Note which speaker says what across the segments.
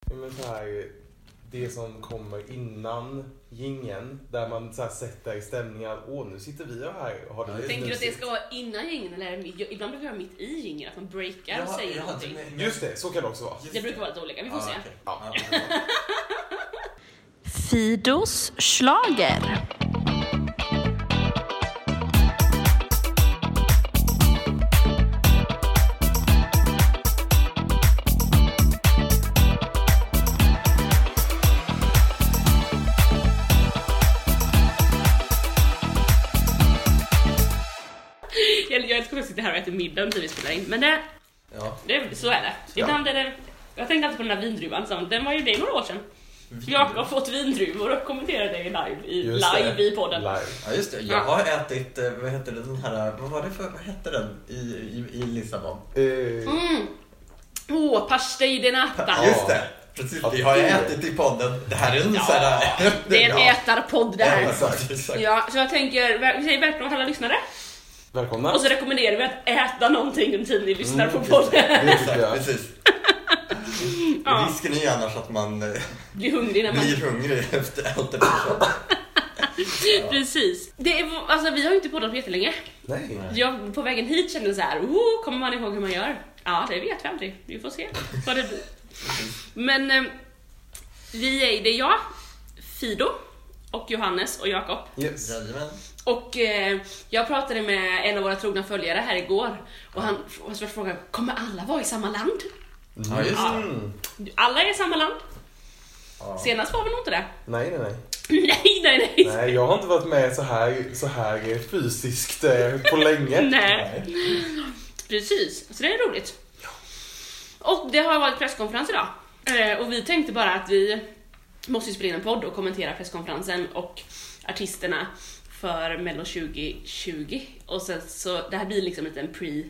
Speaker 1: men så här, det som kommer innan gingen där man så här sätter stämningar. Åh, nu sitter vi här och har det
Speaker 2: Tänker du att det
Speaker 1: mysigt.
Speaker 2: ska vara innan gingen eller är det- jag- ibland brukar det vara mitt i gingen att man breakar och säger någonting.
Speaker 1: Just det, så kan det också vara.
Speaker 2: Det brukar vara lite olika,
Speaker 3: Ah,
Speaker 2: vi får se.
Speaker 4: Fidos schlager.
Speaker 2: Jag, jag älskar att sitta här och äta middag under tiden vi spelar in. Men det,
Speaker 3: Ja.
Speaker 2: det, så är det. Ibland är det... Jag tänkte alltid på den här vindruvan, som, den var ju det några år sedan. Jakob har fått vindruvor och kommenterade det live i,
Speaker 1: Just det.
Speaker 2: live i podden.
Speaker 1: Live.
Speaker 3: Ja just det, jag har ätit, eh, vad hette det, den här, vad var det för, vad hette den i, i, i Lissabon?
Speaker 1: Eh,
Speaker 2: Mm. Åh, pastej de nata.
Speaker 3: Just det, precis,
Speaker 1: Ja,
Speaker 3: vi har ju
Speaker 1: det.
Speaker 3: ätit i podden, det här är en sån
Speaker 2: Ja,
Speaker 3: här...
Speaker 2: Det är en
Speaker 3: Ja,
Speaker 2: ätarpodd det här.
Speaker 3: Exakt, exakt.
Speaker 2: Ja, så jag tänker, vi säger välkomna till alla lyssnare.
Speaker 1: välkomna.
Speaker 2: Och så rekommenderar vi att äta någonting under tiden ni lyssnar på podden.
Speaker 1: Det tycker
Speaker 3: Exakt,
Speaker 1: jag.
Speaker 3: precis.
Speaker 2: Ja.
Speaker 3: Risken är ju annars att man eh,
Speaker 2: Bli hungrig när man...
Speaker 3: blir hungrig efter allt eftersom.
Speaker 2: Precis. Det är, alltså, vi har ju inte poddat på jättelänge.
Speaker 1: Nej.
Speaker 2: Jag på vägen hit kände så här, oh, kommer man ihåg hur man gör? Ja, det vet vi aldrig. Vi får se vad det blir. Men eh, vi är, det är jag, Fido och Johannes och Jakob.
Speaker 1: Yes.
Speaker 3: Jajamän.
Speaker 2: Och eh, jag pratade med en av våra trogna följare här igår och han och så frågade kommer alla vara i samma land?
Speaker 3: Ja just det.
Speaker 1: Mm.
Speaker 2: Alla är i samma land.
Speaker 3: Ja.
Speaker 2: Senast var vi nog inte det.
Speaker 1: Nej, nej, nej.
Speaker 2: nej, nej, nej.
Speaker 1: Nej, jag har inte varit med så här, så här eh, fysiskt eh, på länge.
Speaker 2: Nej. Precis, så det är roligt. Och det har varit presskonferens idag. Eh, Och vi tänkte bara att vi måste ju spela in en podd och kommentera presskonferensen och artisterna för Mello 2020. Och sen så, det här blir liksom lite en pre,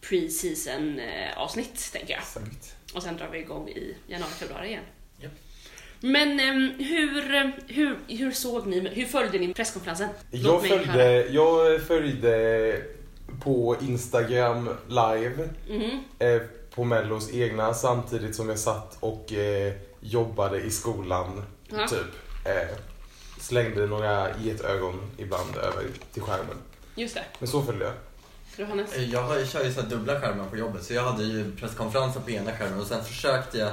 Speaker 2: pre-season eh, avsnitt tänker jag.
Speaker 1: Exakt.
Speaker 2: Och sen drar vi igång i januari, februari igen.
Speaker 3: Japp.
Speaker 2: Men ehm, hur, eh, hur, hur såg ni, hur följde ni presskonferensen? Låt
Speaker 1: Jag
Speaker 2: mig höra.
Speaker 1: följde, jag följde på Instagram live
Speaker 2: Mhm.
Speaker 1: eh, på Mellos egna samtidigt som jag satt och eh, jobbade i skolan.
Speaker 2: Ja.
Speaker 1: Typ. Eh, slängde några getögon ibland över till skärmen.
Speaker 2: Just det,
Speaker 1: Men så följde jag.
Speaker 2: Johannes.
Speaker 3: Jag har, jag kör ju så här dubbla skärmar på jobbet, så jag hade ju presskonferensen på ena skärmen och sen försökte jag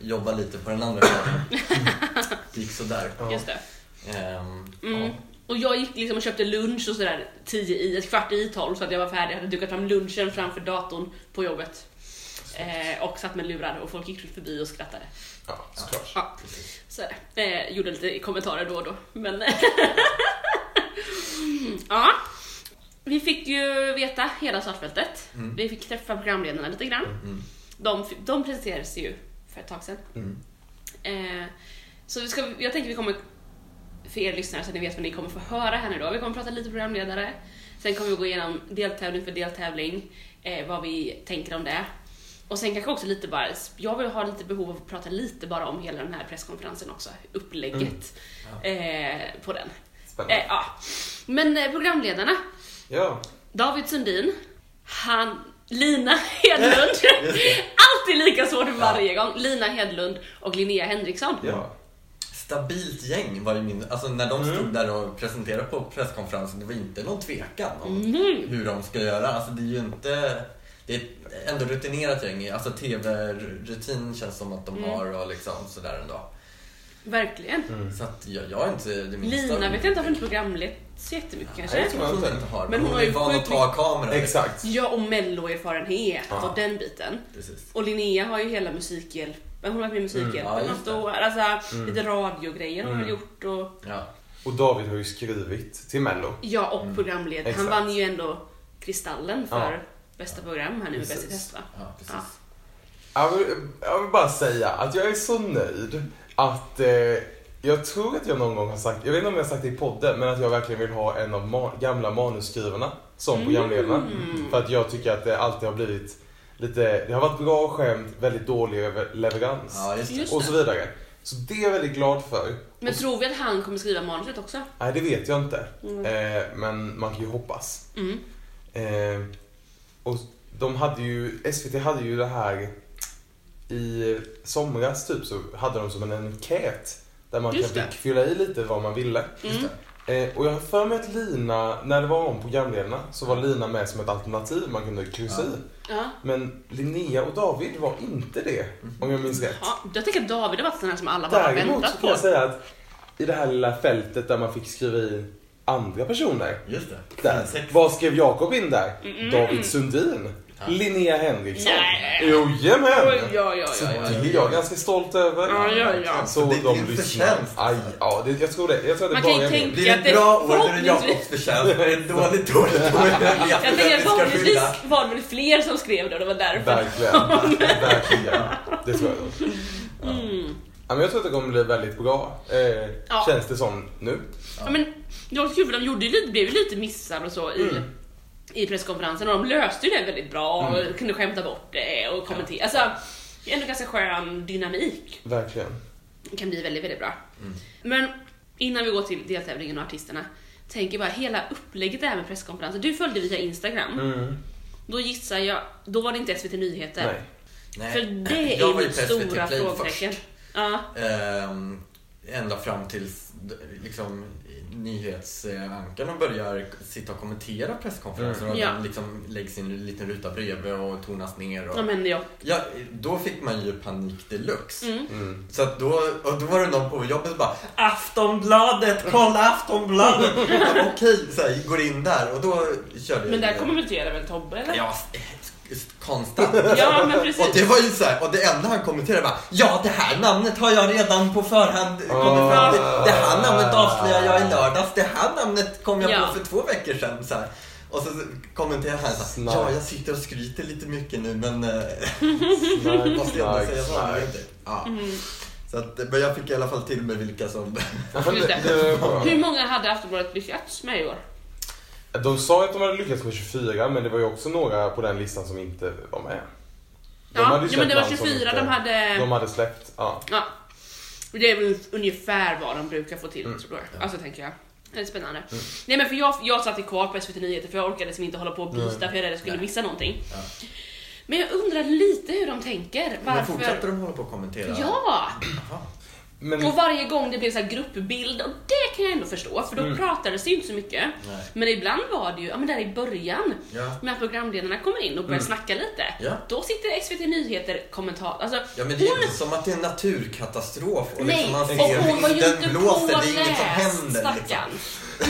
Speaker 3: jobba lite på den andra skärmen. Det gick sådär.
Speaker 1: Ja.
Speaker 2: Just det.
Speaker 3: Ehm,
Speaker 2: Mm.
Speaker 3: ja.
Speaker 2: Och jag gick liksom och köpte lunch och sådär 10 i, ett kvart i 12 så att jag var färdig. Jag hade dukat fram lunchen framför datorn på jobbet. Eh, och satt med lurar och folk gick förbi och skrattade.
Speaker 1: Ja, såklart.
Speaker 2: Ja, så är det. Eh, gjorde lite kommentarer då och då. Men ja. Vi fick ju veta hela startfältet. Vi fick träffa programledarna lite grann.
Speaker 3: Mm.
Speaker 2: De, de presenterades ju för ett tag sedan.
Speaker 3: Mm.
Speaker 2: Eh, så vi ska, jag tänker vi kommer, för er lyssnare så att ni vet vad ni kommer få höra här nu då. Vi kommer prata lite programledare. Sen kommer vi gå igenom deltävling för deltävling, eh, vad vi tänker om det. Och sen kanske också lite bara, jag vill ha lite behov av att prata lite bara om hela den här presskonferensen också, upplägget eh, på den. Eh,
Speaker 1: Spännande.
Speaker 2: ja. Men eh, programledarna,
Speaker 1: Ja.
Speaker 2: David Sundin, han, Lina Hedlund,
Speaker 3: Just det.
Speaker 2: alltid lika svårt varje gång, Lina Hedlund och Linnea Henriksson.
Speaker 1: Ja.
Speaker 3: Stabilt gäng var ju min... Alltså när
Speaker 2: Mm.
Speaker 3: de stod där och presenterade på presskonferensen, det var inte någon tvekan om hur de ska göra. Alltså det är ju inte... Det är ett ändå rutinerat gäng. Alltså TV-rutin känns som att de
Speaker 2: Mm.
Speaker 3: har och liksom sådär ändå.
Speaker 2: Verkligen.
Speaker 3: Så att jag, jag är inte det minsta...
Speaker 2: Mm. Lina vet jag inte har funnits programlett så jättemycket kanske.
Speaker 3: Nej, jag tror att hon inte har.
Speaker 2: Men
Speaker 3: Men
Speaker 2: hon
Speaker 3: hon,
Speaker 2: har
Speaker 3: är
Speaker 2: ju
Speaker 3: van att
Speaker 2: sjukt
Speaker 3: ta kameran.
Speaker 1: Exakt.
Speaker 2: Ja, och melloerfarenhet
Speaker 1: Ja.
Speaker 2: och den biten.
Speaker 3: Precis.
Speaker 2: Och Linnea har ju hela musikhjälp. men Hon har varit med i Musikhjälpen
Speaker 3: ja,
Speaker 2: mm,
Speaker 3: just det.
Speaker 2: år. Alltså, Lite radiogrejer har hon
Speaker 1: Mm.
Speaker 2: gjort. Och,
Speaker 3: Ja.
Speaker 1: Och David har ju skrivit till Mello.
Speaker 2: ja, och programledare. Han
Speaker 1: Exakt.
Speaker 2: vann ju ändå Kristallen för
Speaker 1: Ja.
Speaker 2: bästa program här nu med
Speaker 1: Precis.
Speaker 2: Bäst i test va?
Speaker 3: ja, precis.
Speaker 2: Ja.
Speaker 1: Jag vill, jag vill bara säga att jag är så nöjd att eh, jag tror att jag någon gång har sagt, jag vet inte om jag har sagt det i podden, men att jag verkligen vill ha en av ma- gamla manusskrivarna som programledarna.
Speaker 3: Mm.
Speaker 1: För att jag tycker att det alltid har blivit lite, det har varit bra skämt, väldigt dålig lever- leverans
Speaker 3: Ja, just det.
Speaker 2: Just
Speaker 1: och
Speaker 2: det.
Speaker 1: så vidare. Så det är jag väldigt glad för.
Speaker 2: Men tror vi att han kommer skriva manuset också?
Speaker 1: Nej, det vet jag inte.
Speaker 3: Mm.
Speaker 1: Eh, men man kan ju hoppas.
Speaker 2: Mm.
Speaker 1: Eh, och de hade ju, SVT hade ju det här i somras typ så hade de som en enkät där man
Speaker 2: Just
Speaker 1: kunde
Speaker 2: det.
Speaker 1: fylla i lite vad man ville.
Speaker 2: Mm.
Speaker 1: Eh, och jag har för mig att Lina, när det var om programledarna så var Lina med som ett alternativ man kunde kryssa i.
Speaker 2: Ja.
Speaker 1: Men Linnea och David var inte det, om jag minns rätt.
Speaker 2: Ja, jag tänker att David har varit den här som alla bara har
Speaker 1: Däremot så
Speaker 2: väntat
Speaker 1: kan
Speaker 2: på.
Speaker 1: jag säga att i det här lilla fältet där man fick skriva i andra personer.
Speaker 3: Just det.
Speaker 1: Där.
Speaker 3: Sex.
Speaker 1: Vad skrev Jakob in där? David Sundin. Linnea Henriksson.
Speaker 2: Nej.
Speaker 1: Jojomän!
Speaker 2: Oj, ja, ja,
Speaker 1: Så
Speaker 2: ja, ja.
Speaker 1: det är jag ganska stolt över.
Speaker 2: Ja, ja, ja.
Speaker 1: Så
Speaker 3: Alltså, Det är
Speaker 1: de
Speaker 3: din
Speaker 1: lyssnar.
Speaker 3: förtjänst.
Speaker 1: Aj, ja, det, jag tror det. Jag tror att det
Speaker 2: Man
Speaker 1: bara
Speaker 2: kan ju
Speaker 1: är min.
Speaker 2: tänka-
Speaker 3: Blir det
Speaker 2: Ja, det-
Speaker 3: ett bra år då är det
Speaker 2: förhoppningsvis-
Speaker 3: Jakobs förtjänst. Blir det ett dåligt år då är det Elias
Speaker 2: Jag tänker att
Speaker 3: förtjänst vi ska
Speaker 2: vanligtvis
Speaker 3: skylla.
Speaker 2: var det väl fler som skrev det och det var därför.
Speaker 1: Verkligen. Verkligen. Det tror jag. nog. Ja, men jag tror att det kommer bli väldigt bra. Eh,
Speaker 2: Mm. Ja.
Speaker 1: Känns det som nu.
Speaker 2: Ja, men det var också kul för de gjorde ju lite, blev ju lite missar och så
Speaker 1: Mm.
Speaker 2: i, i presskonferensen och de löste ju det väldigt bra
Speaker 1: Mm.
Speaker 2: och kunde skämta bort det och kommentera. Alltså, det är ändå ganska skön dynamik.
Speaker 1: Verkligen.
Speaker 2: Det kan bli väldigt, väldigt bra.
Speaker 1: Mm.
Speaker 2: Men innan vi går till deltävlingen och artisterna, tänker bara hela upplägget där med presskonferensen. Du följde via Instagram.
Speaker 1: Mm.
Speaker 3: Mm.
Speaker 2: Då gissar jag, då var det inte SVT Nyheter.
Speaker 1: Nej.
Speaker 3: Nej.
Speaker 2: För det
Speaker 3: Jag
Speaker 2: är
Speaker 3: var ju
Speaker 2: mitt
Speaker 3: på SVT
Speaker 2: stora
Speaker 3: Play
Speaker 2: frågetecken.
Speaker 3: först.
Speaker 2: Ja.
Speaker 3: Ehm, ända fram till liksom, nyhetsankarna börjar sitta och kommentera presskonferenser och
Speaker 2: Mm. Ja.
Speaker 3: de liksom läggs in i en liten ruta bredvid och tonas ner. Och...
Speaker 2: De hände jag.
Speaker 3: Ja, då fick man ju panik deluxe.
Speaker 1: Mm.
Speaker 3: Så att då, och då var det någon på jobbet som bara Aftonbladet, kolla Aftonbladet! Jag bara, Okej, så här, går in där och då körde jag
Speaker 2: Men där
Speaker 3: ju-
Speaker 2: kommer väl göra väl Tobbe eller?
Speaker 3: Ja, s- s- konstant.
Speaker 2: Ja, men precis.
Speaker 3: Och det var ju så här, och det enda han kommenterade var Ja, det här namnet har jag redan på förhand kommit fram till. Det här namnet avslöjade jag i lördags. Det här namnet kom jag
Speaker 2: Ja.
Speaker 3: på för två veckor sedan. Så här. Och så kommenterade han så här,
Speaker 1: Snark.
Speaker 3: Ja, jag sitter och skryter lite mycket nu men eh, måste jag ändå
Speaker 1: Snark,
Speaker 3: säga så här.
Speaker 1: snark.
Speaker 3: Ja.
Speaker 2: Mm.
Speaker 3: Så att, men jag fick i alla fall till mig vilka som...
Speaker 1: Ja, men
Speaker 2: Just det.
Speaker 1: det- det är bra.
Speaker 2: Hur många hade Aftonbladet lyckats med i år?
Speaker 1: De sa att de hade lyckats med 24 men det var ju också några på den listan som inte var med. De
Speaker 2: Ja,
Speaker 1: hade
Speaker 2: ja
Speaker 1: släppt
Speaker 2: men det var
Speaker 1: namn som
Speaker 2: 24
Speaker 1: inte-
Speaker 2: de hade...
Speaker 1: De hade släppt, ja.
Speaker 2: Ja. Det är väl ungefär vad de brukar få till
Speaker 3: Mm.
Speaker 2: tror jag. Alltså tänker jag. Det är spännande. Nej men för jag, jag satt i kvar på SVT Nyheter för jag orkade liksom inte hålla på och byta för jag är rädd att jag skulle missa någonting.
Speaker 3: Ja.
Speaker 2: Men jag undrar lite hur de tänker.
Speaker 3: Men
Speaker 2: Varför?
Speaker 3: fortsatte de hålla på och kommentera?
Speaker 2: Ja!
Speaker 3: Jaha.
Speaker 1: Men
Speaker 2: Och varje gång det blev så här gruppbild, och det kan jag ändå förstå för då pratades det ju inte så mycket.
Speaker 3: Mm. Nej.
Speaker 2: Men ibland var det ju, ja men där i början,
Speaker 3: Ja. Mm.
Speaker 2: när programledarna kommer in och börjar snacka lite.
Speaker 3: Ja.
Speaker 2: Då sitter SVT Nyheter kommentar, alltså
Speaker 3: Ja men det är ju
Speaker 2: hon-
Speaker 3: inte som att det är en naturkatastrof och
Speaker 2: Nej,
Speaker 3: liksom man
Speaker 2: och
Speaker 3: ser
Speaker 2: hon var ju
Speaker 3: vinden
Speaker 2: inte
Speaker 3: blåser, det är inget som
Speaker 2: påläst
Speaker 3: händer. Liksom.
Speaker 2: stackarn.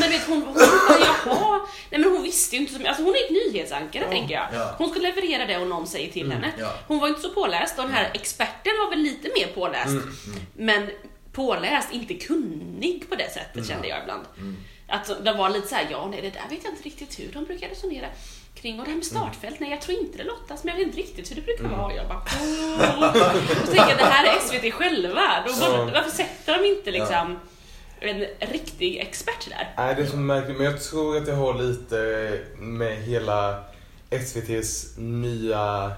Speaker 2: Men vet hon, hon, bara, jaha, nej men hon visste ju inte, som, alltså hon är ett nyhetsankare tänker jag.
Speaker 3: ja. Mm,
Speaker 2: Hon skulle leverera det och någon säger till henne.
Speaker 3: ja. Mm.
Speaker 2: Hon var inte så påläst och den här experten var väl lite mer påläst. Men påläst, inte kunnig på det sättet
Speaker 3: Mm.
Speaker 2: kände jag ibland. Att de var lite såhär, ja nej det där vet jag inte riktigt hur de brukar resonera kring och det här med startfält, nej jag tror inte det lottas men jag vet inte riktigt hur det brukar
Speaker 1: Mm.
Speaker 2: vara. Jag bara, "Åh." och så tänker jag det här är SVT själva, Då borde,
Speaker 1: Ja.
Speaker 2: varför sätter de inte liksom en riktig expert där?
Speaker 1: Nej, det är så märkligt. Men jag tror att det har lite med hela SVT's nya...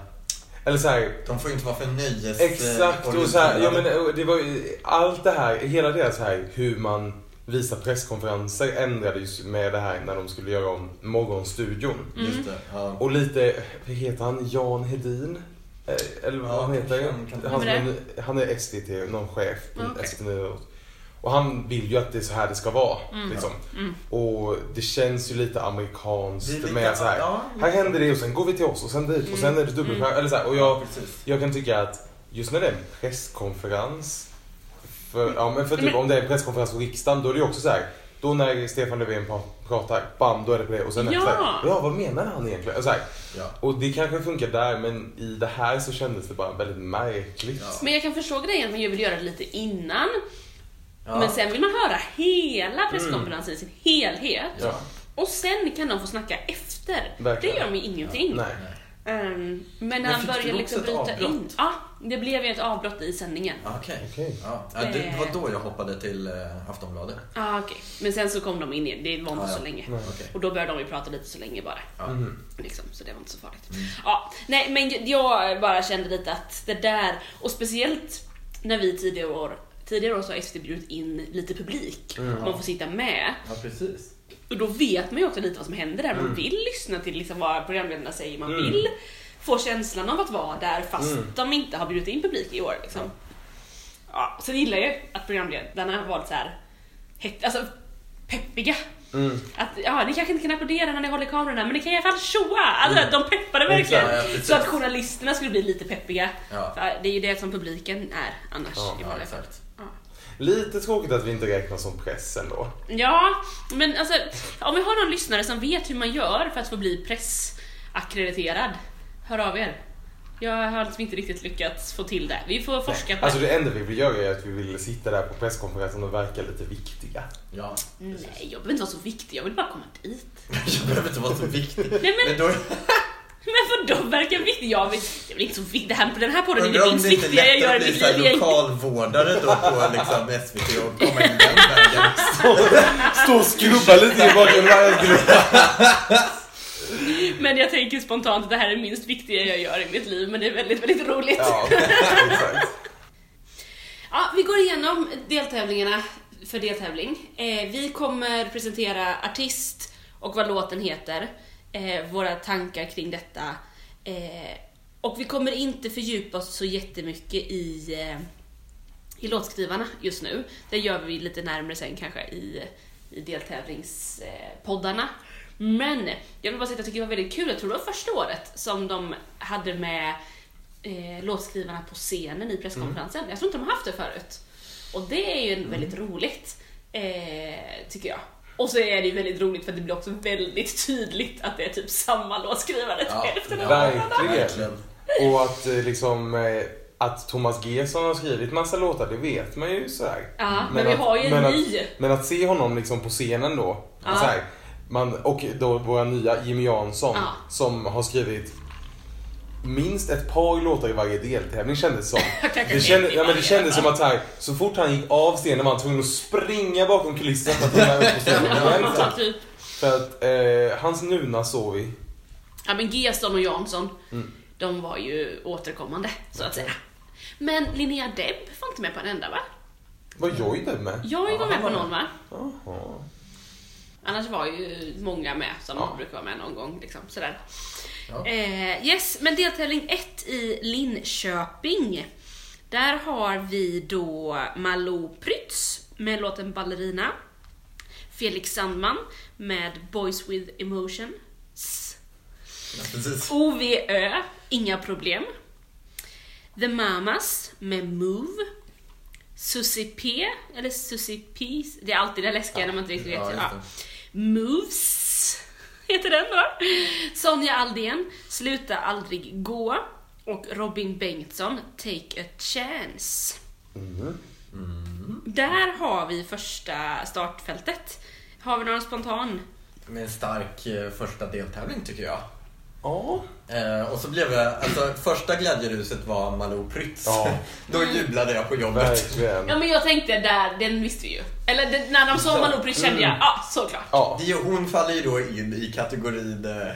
Speaker 1: Eller så här,
Speaker 3: De får ju inte vara för nöjes...
Speaker 1: Exakt,
Speaker 3: eh,
Speaker 1: och så här, ja, men,
Speaker 3: orienterade.
Speaker 1: och det var ju, allt det här, hela deras här hur man visar presskonferenser ändrades med det här när de skulle göra om Morgonstudion.
Speaker 2: Mm.
Speaker 3: Just det, ja.
Speaker 1: Och lite, vad heter han, Jan Hedin? Eh, Eller vad
Speaker 3: Ja,
Speaker 1: han heter?
Speaker 3: kanske han kan-
Speaker 1: Han,
Speaker 2: Vem är
Speaker 1: han, han är SVT, någon chef på
Speaker 2: Ja, okej.
Speaker 1: SVT Nyheter. Och han vill ju att det är så här det ska vara. Liksom. Och det känns ju lite
Speaker 3: Det är
Speaker 1: amerikanskt
Speaker 3: lite-
Speaker 1: med så här.
Speaker 3: ja,
Speaker 1: här händer det och sen går vi till oss och sen dit och sen är det dubbelskärm. Eller så här, och jag,
Speaker 3: Precis.
Speaker 1: jag kan tycka att just när det är en presskonferens. För, ja, men för typ,
Speaker 2: Men-
Speaker 1: om det är en presskonferens på riksdagen då är det ju också så här. Då när Stefan Löfven pra- pratar, bam, då är det på det. Och sen är det så
Speaker 2: Ja.
Speaker 1: här, ja vad menar han egentligen? Och, så här,
Speaker 3: Ja.
Speaker 1: och det kanske funkar där men i det här så kändes det bara väldigt märkligt.
Speaker 3: Ja.
Speaker 2: Men jag kan förstå grejen att man ju vill göra det lite innan,
Speaker 3: Ja.
Speaker 2: men sen vill man höra hela presskonferensen i sin helhet.
Speaker 1: Mm. Ja.
Speaker 2: Och sen kan de få snacka efter.
Speaker 1: Verkligen.
Speaker 2: Det gör mig ingenting.
Speaker 1: Nej.
Speaker 2: Ehm, men
Speaker 3: Men
Speaker 2: han
Speaker 3: fick
Speaker 2: börjar
Speaker 3: du
Speaker 2: liksom
Speaker 3: också ett
Speaker 2: bryta in.
Speaker 3: avbrott?
Speaker 2: Ja, det blev ju ett avbrott i sändningen. Ja,
Speaker 3: Ah, Okej.
Speaker 1: Okej.
Speaker 3: Ja. Ja,
Speaker 2: Eh.
Speaker 3: det var då jag hoppade till eh, Aftonbladet.
Speaker 2: ah, okej. Men sen så kom de in igen, det var inte
Speaker 3: Ja, ja.
Speaker 2: så länge.
Speaker 3: Okej.
Speaker 2: Och då började de ju prata lite så länge bara.
Speaker 3: Ja.
Speaker 1: Mm.
Speaker 2: Liksom, så det var inte så farligt. Ja, nej, men jag bara kände lite att det där, och speciellt när vi tidigare år, tidigare år så har SVT bjudit in lite publik. De får sitta med.
Speaker 3: ja, precis. Mm.
Speaker 2: Och då vet man ju också lite vad som händer där. Man vill lyssna till liksom vad programledarna säger, man vill får känslan av att vara där fast
Speaker 1: Mm.
Speaker 2: de inte har bjudit in publik i år. Liksom. Ja, sen gillar jag ju att programledarna har varit så här, het, alltså, peppiga.
Speaker 1: Mm.
Speaker 2: Att, ja, ni kanske inte kan applådera när ni håller kamerorna men ni kan i alla fall tjoa! Alltså, De peppade verkligen.
Speaker 3: Mm. Exakt, ja, precis.
Speaker 2: så att journalisterna skulle bli lite peppiga.
Speaker 3: Ja.
Speaker 2: För det är ju det som publiken är annars.
Speaker 1: Ja,
Speaker 2: i
Speaker 3: Ja,
Speaker 2: vanliga fall.
Speaker 3: exakt.
Speaker 2: Ja.
Speaker 1: Lite tråkigt att vi inte räknas som press ändå.
Speaker 2: Ja, men alltså, om vi har någon lyssnare som vet hur man gör för att få bli pressackrediterad, hör av er. Jag har liksom inte riktigt lyckats få till det. Vi får forska på
Speaker 1: Alltså
Speaker 2: det.
Speaker 1: det enda vi vill göra är att vi vill sitta där på presskonferensen och verka lite viktiga.
Speaker 3: Ja.
Speaker 2: Nej, jag behöver inte vara så viktig, jag vill bara komma dit.
Speaker 3: Jag behöver inte vara så viktig.
Speaker 2: Nej men,
Speaker 3: Men då
Speaker 2: men för de verkar viktiga? Jag vill, jag vill inte så viktig, det här, den här podden är
Speaker 3: undrar
Speaker 2: det
Speaker 3: om
Speaker 2: minst
Speaker 3: det inte är
Speaker 2: viktiga jag
Speaker 3: lätt
Speaker 2: gör
Speaker 3: att
Speaker 2: i
Speaker 3: bli
Speaker 2: mitt
Speaker 3: så här
Speaker 2: liv.
Speaker 3: lokalvårdare då på liksom SVT och komma in den vägen.
Speaker 1: Stå och skrubba lite i bakgrunden.
Speaker 2: Men jag tänker spontant att det här är det minst viktiga jag gör i mitt liv, men det är väldigt, väldigt roligt.
Speaker 1: Ja, exakt.
Speaker 2: Ja, vi går igenom deltävlingarna för deltävling. Eh, vi kommer presentera artist och vad låten heter, eh, våra tankar kring detta. Eh, och vi kommer inte fördjupa oss så jättemycket i, eh, i låtskrivarna just nu. Det gör vi lite närmare sen kanske i, i deltävlingspoddarna. Men jag vill bara säga att jag tycker det var väldigt kul, jag tror det var första året som de hade med eh, låtskrivarna på scenen i presskonferensen.
Speaker 1: Mm.
Speaker 2: Jag tror inte de har haft det förut. Och det är ju en väldigt roligt, eh, tycker jag. Och så är det ju väldigt roligt för att det blir också väldigt tydligt att det är typ samma låtskrivare till
Speaker 3: Ja,
Speaker 2: hälften av
Speaker 3: ja.
Speaker 2: låtarna.
Speaker 1: Verkligen. Och att eh, liksom eh, att Thomas G som har skrivit massa låtar, det vet man ju så här.
Speaker 2: Ja, men vi har ju en
Speaker 1: men
Speaker 2: ny.
Speaker 1: Att, men att se honom liksom på scenen då.
Speaker 2: Ja.
Speaker 1: Så här, man, och då vår nya Jimmy Jansson
Speaker 2: Ja.
Speaker 1: som har skrivit minst ett par låtar i varje deltävling kändes som.
Speaker 2: Kanske
Speaker 1: Det, kände,
Speaker 2: en i
Speaker 1: ja, men det
Speaker 2: varje,
Speaker 1: kändes
Speaker 2: va?
Speaker 1: som att så, här, så fort han gick av scenen var han tvungen att springa bakom kulissen för att komma upp på scenen
Speaker 2: Ja,
Speaker 1: igen.
Speaker 2: man
Speaker 1: så
Speaker 2: tar
Speaker 1: här.
Speaker 2: typ,
Speaker 1: För att eh, hans nuna såg vi.
Speaker 2: ja men Gesson och Jansson, de var ju återkommande så att säga. Men Linnea Deb var inte med på en enda va?
Speaker 1: Var Joy där med?
Speaker 2: Jag var
Speaker 3: Ja,
Speaker 2: med
Speaker 3: han
Speaker 2: på
Speaker 3: var
Speaker 2: någon va?
Speaker 1: Jaha.
Speaker 2: Annars var ju många med som
Speaker 1: Ja.
Speaker 2: brukar vara med någon gång. Liksom, sådär.
Speaker 3: Ja.
Speaker 2: Eh, yes, men deltävling 1 i Linköping. Där har vi då Malou Prytz med låten Ballerina. Felix Sandman med Boys with Emotions.
Speaker 3: Ja, Precis.
Speaker 2: OVÖ, Inga problem. The Mamas med Move. Susie P, eller Susie P, det är alltid det läskiga när man inte riktigt vet.
Speaker 3: Ja,
Speaker 2: Ja,
Speaker 3: just
Speaker 2: Moves heter den då. Sonja Aldén, Sluta aldrig gå. Och Robin Bengtsson, Take a chance.
Speaker 3: Mm-hmm.
Speaker 2: Mm. Där har vi första startfältet. Har vi någon spontan?
Speaker 3: Med en stark eh, första deltävling tycker jag.
Speaker 1: Ja.
Speaker 3: Eh, och så blev jag, alltså första glädjeruset var Malou Prytz.
Speaker 1: Ja.
Speaker 3: Då jublade jag på jobbet.
Speaker 1: Verkligen.
Speaker 2: Ja men jag tänkte där, den visste vi ju. Eller det, när de sa
Speaker 3: Ja.
Speaker 2: Malou Prytz kände jag, ja ah, såklart.
Speaker 1: Ja.
Speaker 3: Det, hon faller ju då in i kategorin... Eh,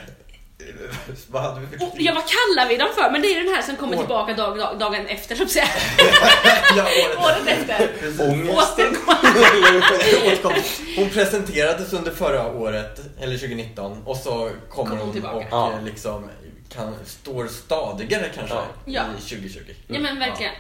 Speaker 3: vad hade vi för
Speaker 2: Och, ja vad kallar vi dem för? Men det är den här som kommer tillbaka dag, dag, dagen efter, så att säga.
Speaker 3: ja, året.
Speaker 2: Året efter.
Speaker 3: Precis.
Speaker 1: Ångesten.
Speaker 2: Återkommande.
Speaker 3: Återkom. Alltså, Hon presenterades under förra året, eller 2019, och så kommer
Speaker 2: Kom hon
Speaker 3: hon,
Speaker 2: tillbaka.
Speaker 3: och
Speaker 1: Ja.
Speaker 3: eh, liksom kan, står stadigare kanske
Speaker 1: Ja.
Speaker 3: i
Speaker 2: Ja.
Speaker 3: 2020.
Speaker 2: Ja men verkligen.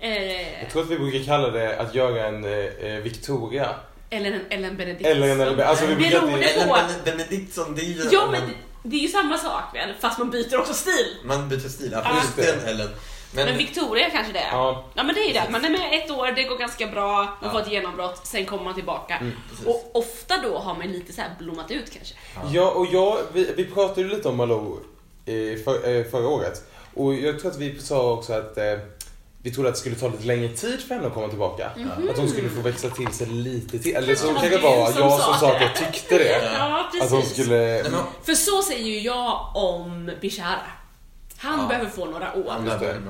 Speaker 2: Eh,
Speaker 1: Jag tror att vi brukar kalla det att göra en eh, eh, Victoria.
Speaker 2: eller en Ellen Benediktsson.
Speaker 1: Eller en eller Alltså vi brukar
Speaker 2: Beror
Speaker 1: inte...
Speaker 2: det-
Speaker 3: Ellen
Speaker 2: på-
Speaker 3: Ben- Benediktsson, det är ju...
Speaker 2: Ja men det, det är ju samma sak väl, fast man byter också stil.
Speaker 3: Man byter stil,
Speaker 2: Ja.
Speaker 3: ja. just den Ellen. Men,
Speaker 2: Men Victoria kanske det är.
Speaker 1: Ja.
Speaker 2: ja men det är ju det, man är med ett år, det går ganska bra, man får ett genombrott, sen kommer man tillbaka. och ofta då har man lite så här blommat ut kanske.
Speaker 1: Ja, och jag, vi, vi pratade ju lite om Malou eh, för, eh, förra året. Och jag tror att vi sa också att eh, vi trodde att det skulle ta lite längre tid för henne att komma tillbaka.
Speaker 2: Mhm.
Speaker 1: Att hon skulle få växa till sig lite till. Eller så
Speaker 2: Det var
Speaker 1: kanske det
Speaker 2: du
Speaker 1: var
Speaker 2: som
Speaker 1: jag
Speaker 2: sa
Speaker 1: som sa att
Speaker 2: det.
Speaker 1: jag tyckte det.
Speaker 2: Ja
Speaker 1: Att hon skulle...
Speaker 3: Nej, men,
Speaker 2: För så säger ju jag om Bishara. Han
Speaker 3: Ja.
Speaker 2: behöver få några år.
Speaker 1: just det.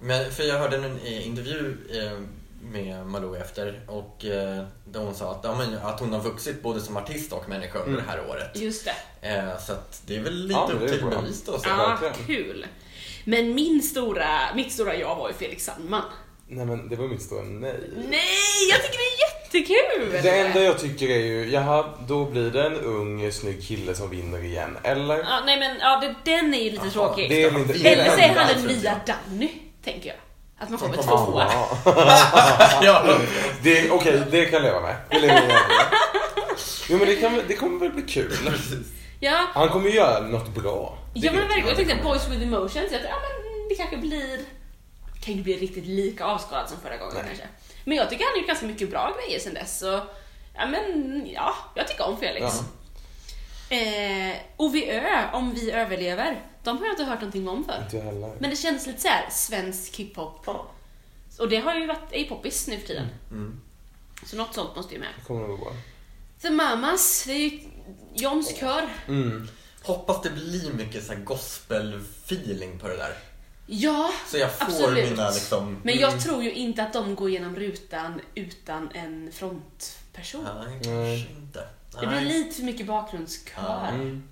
Speaker 3: Men, för jag hörde en eh, intervju eh, med Malou efter och eh, där hon sa att, ja, men, att hon har vuxit både som artist och människa under det här året.
Speaker 2: Just det.
Speaker 3: Eh, så att det är väl lite
Speaker 1: Mm. Ja, det
Speaker 3: upp
Speaker 1: är
Speaker 3: till
Speaker 1: bra.
Speaker 3: bevis då. Så.
Speaker 2: Ja,
Speaker 1: verkligen.
Speaker 2: kul. Men min stora, mitt stora jag var ju Felix Sandman.
Speaker 1: Nej men det var mitt stora nej.
Speaker 2: Nej, jag tycker det är jättekul!
Speaker 1: Det enda jag tycker är ju, jaha, då blir det en ung snygg kille som vinner igen. Eller?
Speaker 2: Ja, nej men ja, det, den är ju lite
Speaker 3: Jaha,
Speaker 2: tråkig.
Speaker 1: det är väl inte-
Speaker 3: Vi
Speaker 2: Eller så är
Speaker 3: enda,
Speaker 2: han den
Speaker 3: tror jag.
Speaker 2: nya Danny, tänker jag. Att man
Speaker 3: Som
Speaker 2: kommer
Speaker 3: kommer
Speaker 2: tvåa.
Speaker 1: Ja.
Speaker 3: Ja.
Speaker 1: Det- Okej, det kan jag leva med. Det lever jag med. Jo men det, kan, det kommer väl bli kul.
Speaker 2: Ja,
Speaker 1: Han kommer ju göra något bra.
Speaker 2: ja
Speaker 3: vet
Speaker 2: men verkligen.
Speaker 3: man.
Speaker 2: Jag tänkte att Boys with Emotions, jag tror, ja men det kanske blir... Kan ju bli riktigt lika avskalat som förra gången
Speaker 1: Nej.
Speaker 2: kanske. Men jag tycker han har gjort ganska mycket bra grejer sen dess så... Ja men ja, jag tycker om Felix.
Speaker 1: Ja.
Speaker 2: Eh, OVÖ, Om vi överlever, de har jag inte hört någonting om för.
Speaker 1: Inte jag heller.
Speaker 2: Men det kändes lite så här svensk hiphop.
Speaker 1: Ja,
Speaker 2: Och det har ju varit, är ju poppis nu för tiden.
Speaker 3: Mm.
Speaker 2: Så något sånt måste ju med.
Speaker 1: det kommer nog gå bra.
Speaker 2: The Mamas, det är ju Johns kör.
Speaker 1: Mm.
Speaker 3: Hoppas det blir mycket så här gospel-feeling på det där.
Speaker 2: Ja,
Speaker 3: Så jag får
Speaker 2: absolut.
Speaker 3: mina liksom...
Speaker 1: Mm.
Speaker 2: Men jag tror ju inte att de går igenom rutan utan en frontperson.
Speaker 3: Nej,
Speaker 1: Nej.
Speaker 3: kanske inte.
Speaker 2: Det blir lite för mycket bakgrundskör.
Speaker 1: Mm.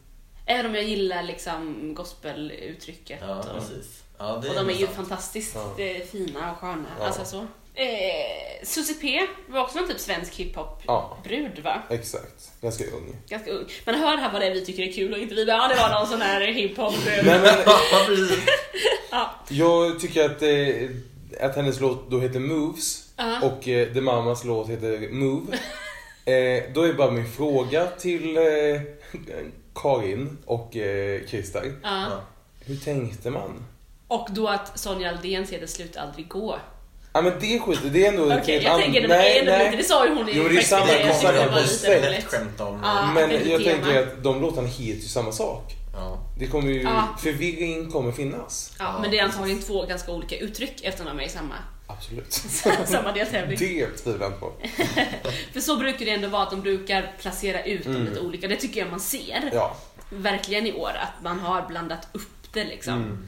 Speaker 2: Även om jag gillar liksom gospeluttrycket.
Speaker 3: Ja,
Speaker 2: och,
Speaker 1: alltså,
Speaker 3: precis. Ja, det
Speaker 2: och de är
Speaker 3: nog
Speaker 2: ju
Speaker 3: sant.
Speaker 2: fantastiskt
Speaker 1: Ja.
Speaker 2: eh, fina och sköna.
Speaker 1: Ja.
Speaker 2: Alltså så. Eh, Susie P var också en typ svensk
Speaker 1: Ja.
Speaker 2: hiphop-brud va?
Speaker 1: Exakt. Ganska ung.
Speaker 2: Ganska ung. Men hör här vad det är vi tycker är kul och inte vi bara, ja det var någon sån här hiphop-brud.
Speaker 1: Nej, men,
Speaker 3: Ja, precis.
Speaker 2: Ja.
Speaker 1: jag tycker att, eh, att hennes låt då heter Moves
Speaker 2: Ja.
Speaker 1: och eh, The Mamas låt heter Move. Eh, då är bara min fråga till eh, Karin och eh, Christer.
Speaker 2: Ja.
Speaker 3: Ja.
Speaker 1: Hur tänkte man?
Speaker 2: Och då att Sonja Aldén ser det slut aldrig gå.
Speaker 1: Ja men det skiter det är ändå...
Speaker 2: Okej,
Speaker 1: det är
Speaker 2: jag
Speaker 1: an-
Speaker 2: tänker det, men det är ändå lite, det sa ju hon i
Speaker 1: Jo, men det är samma-
Speaker 2: jag
Speaker 1: samma
Speaker 2: tyckte det var
Speaker 1: koncept.
Speaker 2: lite
Speaker 3: Lätt
Speaker 2: roligt.
Speaker 3: skämt om...
Speaker 2: Ja.
Speaker 1: Men
Speaker 2: väldigt
Speaker 1: jag
Speaker 2: tema.
Speaker 1: tänker att de låtarna heter ju samma sak.
Speaker 3: Ja.
Speaker 1: Det kommer ju,
Speaker 2: Ja.
Speaker 1: förvirring kommer finnas.
Speaker 2: Ja, men det är antagligen två ganska olika uttryck eftersom de är i samma,
Speaker 1: Absolut.
Speaker 2: samma deltävling.
Speaker 1: Det tvivlar jag inte på.
Speaker 2: För så brukar det ändå vara, att de brukar placera ut dem lite olika. Det tycker jag man ser
Speaker 1: Mm. Ja.
Speaker 2: verkligen i år, att man har blandat upp det liksom.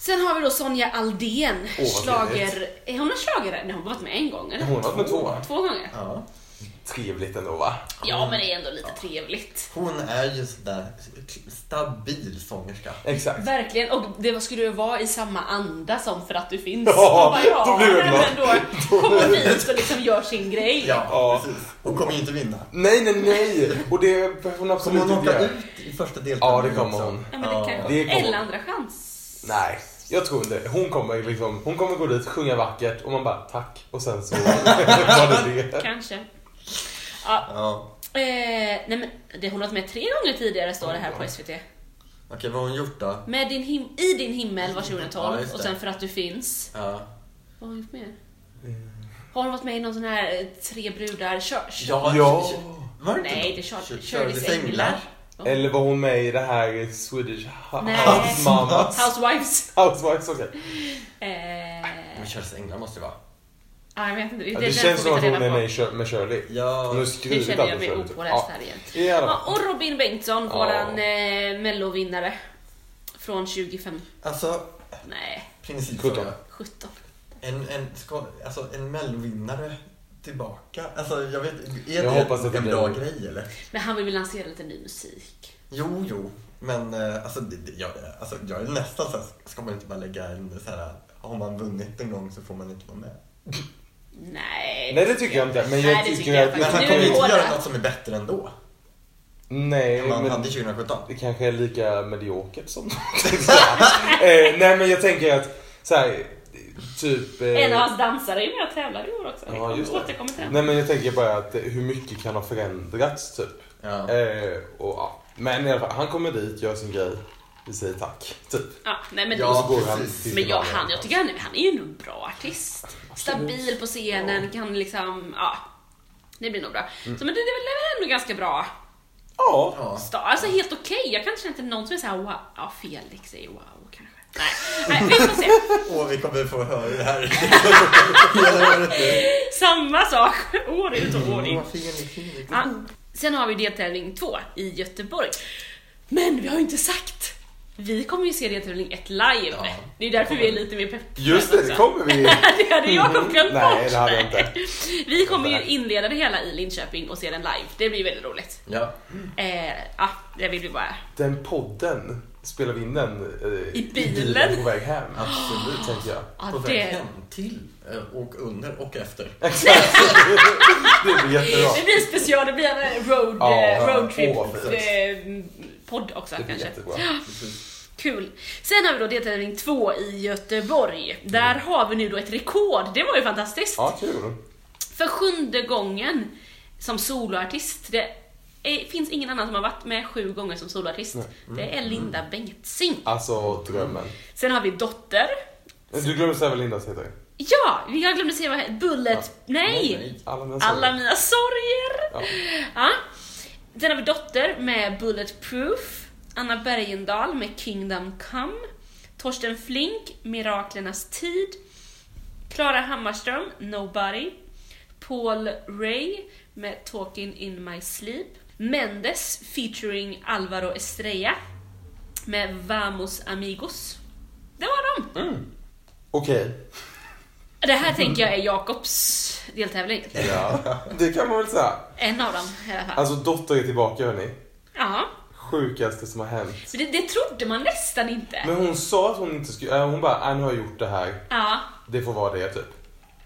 Speaker 2: Sen har vi då Sonja Aldén,
Speaker 1: Mm. vad
Speaker 2: slager... Är hon en slagare? Nej, hon har varit med en gång, eller?
Speaker 1: Hon har varit med två.
Speaker 2: Två gånger?
Speaker 3: Ja.
Speaker 2: Ja,
Speaker 1: Trevligt ändå va?
Speaker 2: men det är ändå lite trevligt.
Speaker 3: Hon är ju sådär stabil sångerska.
Speaker 1: Exakt.
Speaker 2: Verkligen, och det vad skulle det vara i samma anda som för att du finns.
Speaker 1: Ja,
Speaker 2: Man bara,
Speaker 1: då blir det
Speaker 2: men
Speaker 1: bra.
Speaker 2: Då kommer dit och liksom gör sin grej.
Speaker 3: Ja,
Speaker 1: Ja.
Speaker 3: precis. Hon kommer ju inte vinna.
Speaker 1: Nej, nej, nej! Och det behöver hon
Speaker 3: Kommer
Speaker 1: absolut
Speaker 3: hon
Speaker 1: inte
Speaker 3: åka
Speaker 1: göra.
Speaker 3: ut i första deltävlingen
Speaker 1: Ja, det kommer
Speaker 3: också?
Speaker 1: hon.
Speaker 2: Ja, men det kanske,
Speaker 1: det kommer-
Speaker 2: Eller andra chans.
Speaker 1: Nej, jag tror inte Hon kommer liksom, hon kommer gå dit, sjunga vackert och man bara tack. Och sen så var det det.
Speaker 2: Kanske. Ja,
Speaker 3: Ja.
Speaker 2: eh, nej men det hon har varit med tre gånger tidigare står det här på SVT.
Speaker 3: Okej, vad har hon gjort då?
Speaker 2: Med din him- I din himmel var
Speaker 3: Ja,
Speaker 2: 2012
Speaker 3: just det.
Speaker 2: och sen För att du finns.
Speaker 3: Ja.
Speaker 2: Vad har hon gjort mer? Har hon varit med i någon sån här eh, Tre brudar Church?
Speaker 3: Ja.
Speaker 1: Ja.
Speaker 3: Var det
Speaker 2: Nej, det är Shir- Shirleys änglar.
Speaker 1: Eller var hon med i det här Swedish
Speaker 2: Nej.
Speaker 1: House Mama?
Speaker 2: Housewives.
Speaker 1: Housewives, okej.
Speaker 2: Eh,
Speaker 3: Men Shirleys änglar måste det vara.
Speaker 2: Ja, jag vet inte.
Speaker 1: Ja,
Speaker 2: den
Speaker 1: Det känns
Speaker 2: får
Speaker 1: som
Speaker 2: vi
Speaker 1: att
Speaker 2: ta
Speaker 1: hon
Speaker 2: reda
Speaker 1: är
Speaker 2: på.
Speaker 1: med i Kör- med Shirley.
Speaker 3: Ja.
Speaker 1: Hon har
Speaker 2: Nu
Speaker 1: skrivit
Speaker 2: känner jag
Speaker 1: allt
Speaker 2: mig
Speaker 1: med Shirley. typ.
Speaker 2: opåläst
Speaker 1: Ja.
Speaker 2: här igen.
Speaker 1: I alla
Speaker 2: Ja,
Speaker 1: fall.
Speaker 2: och Robin Bengtsson,
Speaker 1: Ja.
Speaker 2: våran eh, mellovinnare. Från 2005,
Speaker 3: Alltså,
Speaker 2: nej,
Speaker 1: Sjutton.
Speaker 3: principfråga.
Speaker 2: 17.
Speaker 3: En, en, ska, alltså, en mellovinnare tillbaka. Alltså, jag vet Är
Speaker 1: Jag
Speaker 3: det
Speaker 1: hoppas att det
Speaker 3: en
Speaker 1: blir-
Speaker 3: bra grej eller?
Speaker 2: Men han vill väl lansera lite ny musik.
Speaker 3: Jo, jo. Men eh, alltså, det, det, jag, alltså, jag är nästan så här, ska man inte bara lägga in så här, har man vunnit en gång så får man inte vara med.
Speaker 2: Nej.
Speaker 1: Nej, det tycker jag inte, men jag
Speaker 2: Nej, det
Speaker 1: tycker att-
Speaker 3: Men
Speaker 2: faktiskt.
Speaker 3: han
Speaker 2: Nu är
Speaker 3: kommer ju
Speaker 2: vi
Speaker 3: inte
Speaker 2: hårda.
Speaker 3: göra något som är bättre ändå.
Speaker 1: Nej,
Speaker 3: Man
Speaker 1: men...
Speaker 3: hade 2017.
Speaker 1: det kanske är lika mediokert som eh, Nej men jag tänker att så här, typ... eh,
Speaker 2: En av hans dansare är ju med och tävlar i år också.
Speaker 1: Ja, just det.
Speaker 2: Återkommer till det.
Speaker 1: Nej men jag tänker bara att eh, hur mycket kan ha förändrats typ.
Speaker 3: Ja.
Speaker 1: Eh, och, ja. Men i alla fall, han kommer dit, gör sin grej, vi säger tack. Typ.
Speaker 2: Ja, nej, men
Speaker 3: Ja,
Speaker 2: det måste-
Speaker 1: Så går han
Speaker 3: precis.
Speaker 1: till
Speaker 2: Men jag,
Speaker 1: finalen.
Speaker 2: han, jag tycker han, han är ju en bra artist. Stabil på scenen, kan liksom, ja. Det blir nog bra.
Speaker 1: Mm.
Speaker 2: Så men det, det är väl ändå ganska bra.
Speaker 1: Ja.
Speaker 3: Ja.
Speaker 2: Sta- Alltså helt okej, jag kanske inte någon som är såhär wow, ja Felix är ju wow kanske. Nej, nej vi får se.
Speaker 3: Och vi kommer få höra det här hela året nu.
Speaker 2: Samma sak år ut och år in.
Speaker 3: Åh, fin, fin.
Speaker 2: Ja. Sen har vi deltävling två i Göteborg. Men vi har ju inte sagt! Vi kommer ju se deltävling ett live.
Speaker 3: Ja.
Speaker 2: Det är därför vi är lite mer peppade.
Speaker 1: Just det, det
Speaker 2: också.
Speaker 1: kommer vi. Mm-hmm.
Speaker 2: det hade jag glömt
Speaker 1: Nej
Speaker 2: bort.
Speaker 1: det hade jag inte.
Speaker 2: Vi kommer ju inleda det hela i Linköping och se den live. Det blir väldigt roligt.
Speaker 1: Mm.
Speaker 3: Ja.
Speaker 2: Eh, ja, jag vill ju bara...
Speaker 1: Den podden spelar vi in den eh,
Speaker 2: I bilen?
Speaker 1: på väg hem.
Speaker 3: Absolut.
Speaker 1: Tänker jag.
Speaker 2: Ja,
Speaker 3: På väg
Speaker 2: det,
Speaker 3: hem, till eh, och under och efter.
Speaker 1: Exakt. det blir jättebra.
Speaker 2: det blir en special, det blir en road,
Speaker 1: Ja,
Speaker 2: eh,
Speaker 1: ja,
Speaker 2: roadtrip
Speaker 1: åh, vad fint.
Speaker 2: eh, podd också
Speaker 1: Det blir
Speaker 2: kanske.
Speaker 1: jättebra.
Speaker 3: Precis.
Speaker 2: Kul. Sen har vi då deltävling två i Göteborg. Där har vi nu då ett rekord, det var ju fantastiskt.
Speaker 1: Mm. Ja, kul.
Speaker 2: För sjunde gången som soloartist. Det är, finns ingen annan som har varit med sju gånger som soloartist.
Speaker 1: Mm.
Speaker 2: Det är Linda Bengtzing.
Speaker 1: Alltså drömmen.
Speaker 2: Sen har vi Dotter.
Speaker 1: Du glömde säga vad Lindas heter?
Speaker 2: Ja, jag glömde säga vad Bullet... Nej!
Speaker 3: Nej.
Speaker 1: Alla mina
Speaker 2: Alla
Speaker 1: sorger.
Speaker 2: mina sorger!
Speaker 1: Ja.
Speaker 2: Ja. Sen har vi Dotter med Bullet Proof. Anna Bergendahl med Kingdom Come. Torsten Flink, Miraklernas tid. Klara Hammarström, Nobody. Paul Ray med Talking in my sleep. Mendes featuring Alvaro Estrella med Vamos amigos. Det var dem!
Speaker 1: Okej.
Speaker 2: Det här tänker jag är Jakobs deltävling.
Speaker 1: Ja. Det kan man väl säga.
Speaker 2: En av dem i alla fall.
Speaker 1: Alltså Dotter är tillbaka hörni.
Speaker 2: Ja.
Speaker 1: Sjukaste som har hänt.
Speaker 2: Så det, det trodde man nästan inte.
Speaker 1: Men hon sa att hon inte skulle, äh, hon bara, äh, nu har jag gjort det här.
Speaker 2: Ja,
Speaker 1: Det får vara det typ.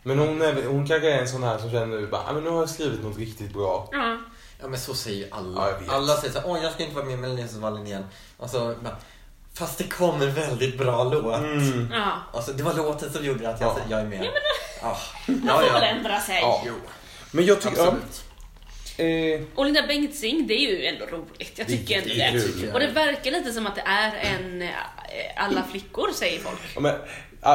Speaker 1: Men hon, är, väl- hon kanske är en sån här som känner nu bara, äh, men nu har jag skrivit något riktigt bra.
Speaker 2: ja.
Speaker 3: Ja men så säger ju
Speaker 1: Ja,
Speaker 3: alla.
Speaker 1: jag vet.
Speaker 3: alla säger såhär, åh jag ska inte vara med i Melodifestivalen igen. Alltså, bara, fast det kom en väldigt bra låt.
Speaker 2: ja.
Speaker 3: Alltså det var låten som gjorde att jag,
Speaker 1: Mm. Ja.
Speaker 3: sa, jag är med. Ja,
Speaker 2: Man får
Speaker 3: ja, ja.
Speaker 2: väl ändra sig.
Speaker 1: Ja.
Speaker 3: Jo,
Speaker 1: Men jag tycker, ja,
Speaker 3: absolut.
Speaker 1: eh,
Speaker 2: Och Linda Bengtzing, det är ju ändå roligt. Jag tycker ändå
Speaker 1: det är
Speaker 2: det.
Speaker 1: kul.
Speaker 3: tycker jag.
Speaker 2: Och det verkar lite som att det är en eh, alla flickor säger folk.
Speaker 1: ja, men,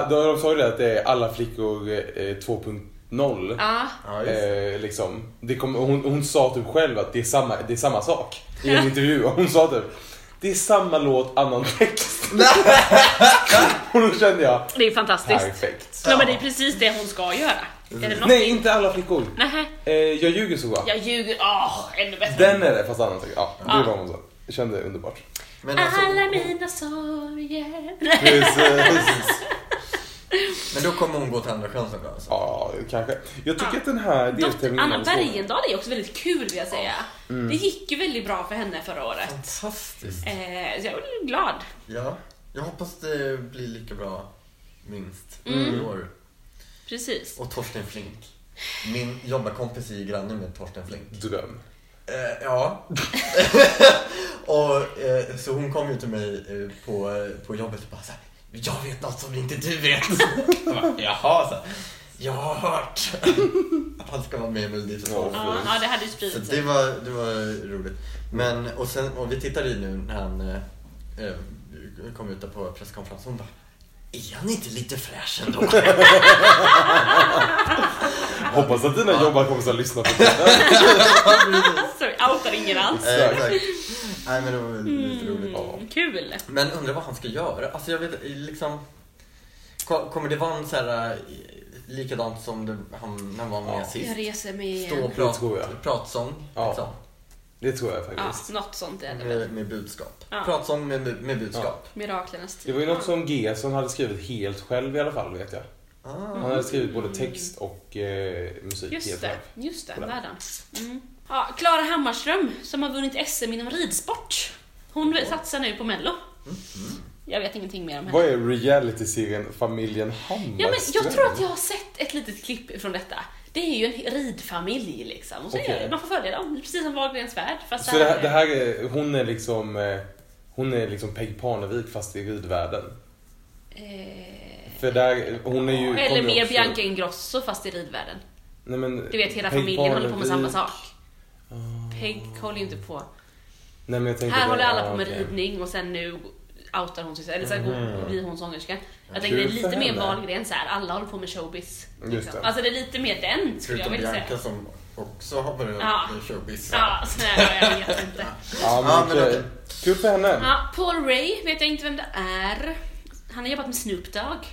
Speaker 1: äh, då- de sa ju det att det är alla flickor eh, 2.0.
Speaker 2: Ja,
Speaker 3: Ja, just det.
Speaker 1: Eh, liksom, det kom, hon, hon sa typ själv att det är samma, det är samma sak i en intervju. Och Hon sa typ det är samma låt, annan text. och då kände jag
Speaker 2: det är fantastiskt.
Speaker 1: perfekt.
Speaker 2: Ja, men det är precis det hon ska göra. Är det något?
Speaker 1: Nej, inte alla flickor.
Speaker 2: Nähä.
Speaker 1: Eh, jag ljuger så bra.
Speaker 2: Jag ljuger. Åh, ännu bättre.
Speaker 1: Den är det, fast annan text. Ja, det
Speaker 2: Ja.
Speaker 1: var vad hon sa. Jag kände underbart.
Speaker 3: Men, alltså,
Speaker 2: Alla mina sorger.
Speaker 1: Precis.
Speaker 3: men då kommer hon gå till Andra chansen då alltså.
Speaker 1: ja, kanske. Jag tycker
Speaker 2: Ja.
Speaker 1: att den här
Speaker 2: Dotter
Speaker 1: deltävlingen...
Speaker 2: Anna Bergendahl är också väldigt kul vill jag säga.
Speaker 1: Mm.
Speaker 2: Det gick ju väldigt bra för henne förra året.
Speaker 3: Fantastiskt.
Speaker 2: Eh, så jag är glad.
Speaker 3: Ja, jag hoppas det blir lika bra minst
Speaker 2: Mm.
Speaker 3: i år.
Speaker 2: Precis.
Speaker 3: Och Torsten Flink. Min jobbarkompis är ju granne med Torsten Flink.
Speaker 1: Dröm.
Speaker 3: Eh, ja. och, eh, så hon kom ju till mig eh, på, eh, på jobbet och bara så här, Jag vet något som inte du vet. jag bara, Jaha, så här, Jag har hört att han ska vara med i Melodifestivalen.
Speaker 2: Ja, ja, det hade ju spridit
Speaker 3: Så det
Speaker 2: sig.
Speaker 3: var, det var roligt. Men, och, sen, och vi tittade ju nu när han eh, eh, kom ut där på presskonferensen. Hon bara, är han inte lite fräsch ändå?
Speaker 1: Hoppas att dina jobbarkompisar lyssnar på det.
Speaker 2: Så vi outar ingen alls.
Speaker 3: Eh, Exakt. Nej men det var lite roligt.
Speaker 2: Mm, kul.
Speaker 3: Men undrar vad han ska göra. Alltså jag vet liksom... ko- Kommer det vara en så här eh, likadant som det, han, när han var med
Speaker 1: Ja.
Speaker 3: sist?
Speaker 2: Jag reser mig
Speaker 3: Stå
Speaker 2: igen.
Speaker 3: och
Speaker 1: Det tror
Speaker 3: prat,
Speaker 1: jag.
Speaker 3: pratsång
Speaker 1: Ja.
Speaker 3: liksom.
Speaker 1: Det tror jag
Speaker 2: Ja,
Speaker 1: faktiskt.
Speaker 2: något sånt är det väl.
Speaker 3: Med, med budskap.
Speaker 2: Ja.
Speaker 3: Pratsång med, med, med budskap.
Speaker 2: Miraklernas tid.
Speaker 1: Det var ju något som Gesson hade skrivit helt själv i alla fall, vet jag.
Speaker 2: Mm,
Speaker 3: Ah.
Speaker 1: Han hade skrivit både text och eh, musik
Speaker 2: Just
Speaker 1: helt
Speaker 2: det,
Speaker 1: själv.
Speaker 2: just det.
Speaker 1: Kolla.
Speaker 2: Där är den. Mm. Ja, Klara Hammarström som har vunnit SM inom ridsport. Hon satsar nu på mello. Jag vet ingenting mer om henne.
Speaker 1: Mm-hmm. Vad är realityserien Familjen Hammarström?
Speaker 2: Ja, men jag tror att jag har sett ett litet klipp från detta. Det är ju en ridfamilj liksom. Och så är
Speaker 1: Okej.
Speaker 2: det, man får följa dem, precis som Wahlgrens värld. Fast
Speaker 1: Så det här, det här är, hon är liksom, eh, hon är liksom Peg Parnevik fast i ridvärlden.
Speaker 2: Eh,
Speaker 1: För där, hon är ju... kommer
Speaker 2: eller
Speaker 1: ju
Speaker 2: mer
Speaker 1: också-
Speaker 2: Bianca Ingrosso fast i ridvärlden.
Speaker 1: Nej, men,
Speaker 2: Du vet, hela
Speaker 1: Peg
Speaker 2: familjen håller på med samma
Speaker 1: Parnevik- Ah.
Speaker 2: sak. Peg håller ju inte på.
Speaker 1: Nej, men jag tänkte
Speaker 2: Här
Speaker 1: bara-
Speaker 2: håller alla på
Speaker 1: ah,
Speaker 2: med
Speaker 1: okej. Mm.
Speaker 2: ridning och sen nu outar hon sig själv, eller så här blir hon sångerska. Jag tänker det
Speaker 1: Kul
Speaker 2: är lite
Speaker 1: för
Speaker 2: mer
Speaker 1: henne.
Speaker 2: Wahlgren så här. alla håller på med showbiz.
Speaker 1: Just
Speaker 2: Liksom.
Speaker 1: det.
Speaker 2: Alltså det är lite mer den skulle jag
Speaker 3: Förutom
Speaker 2: vilja
Speaker 3: Bianca
Speaker 2: säga.
Speaker 3: som också har börjat
Speaker 2: Ja.
Speaker 3: med showbiz.
Speaker 2: Ja, så här, jag vet inte.
Speaker 1: Ja, Ah, men,
Speaker 3: Ja, men
Speaker 1: okej.
Speaker 3: okej.
Speaker 1: Kul för henne.
Speaker 2: Ja, Paul Ray vet jag inte vem det är. Han har jobbat med Snoop Dogg.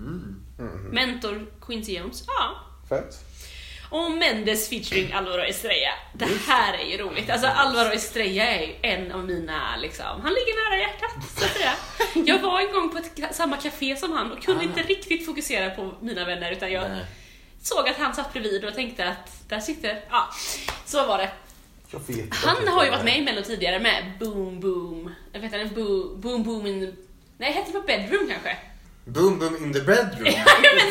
Speaker 1: Mm-hmm.
Speaker 2: Mentor Quincy Jones. Ja.
Speaker 1: Fett.
Speaker 2: Och Mendes featuring Alvaro Estrella. Det här är ju roligt. Alltså Alvaro Estrella är ju en av mina, liksom, han ligger nära hjärtat så att säga. Jag var en gång på ett, ka- samma café som han och kunde inte riktigt fokusera på mina vänner utan jag
Speaker 3: Nej.
Speaker 2: såg att han satt bredvid och tänkte att där sitter, ja, så var det.
Speaker 1: Jag vet
Speaker 2: Han
Speaker 1: inte.
Speaker 2: har ju varit med i Mello tidigare med Boom Boom. Jag vet inte, Boom Boom, boom in... Nej, hette det på Bedroom kanske?
Speaker 3: Boom boom in the bedroom.
Speaker 2: men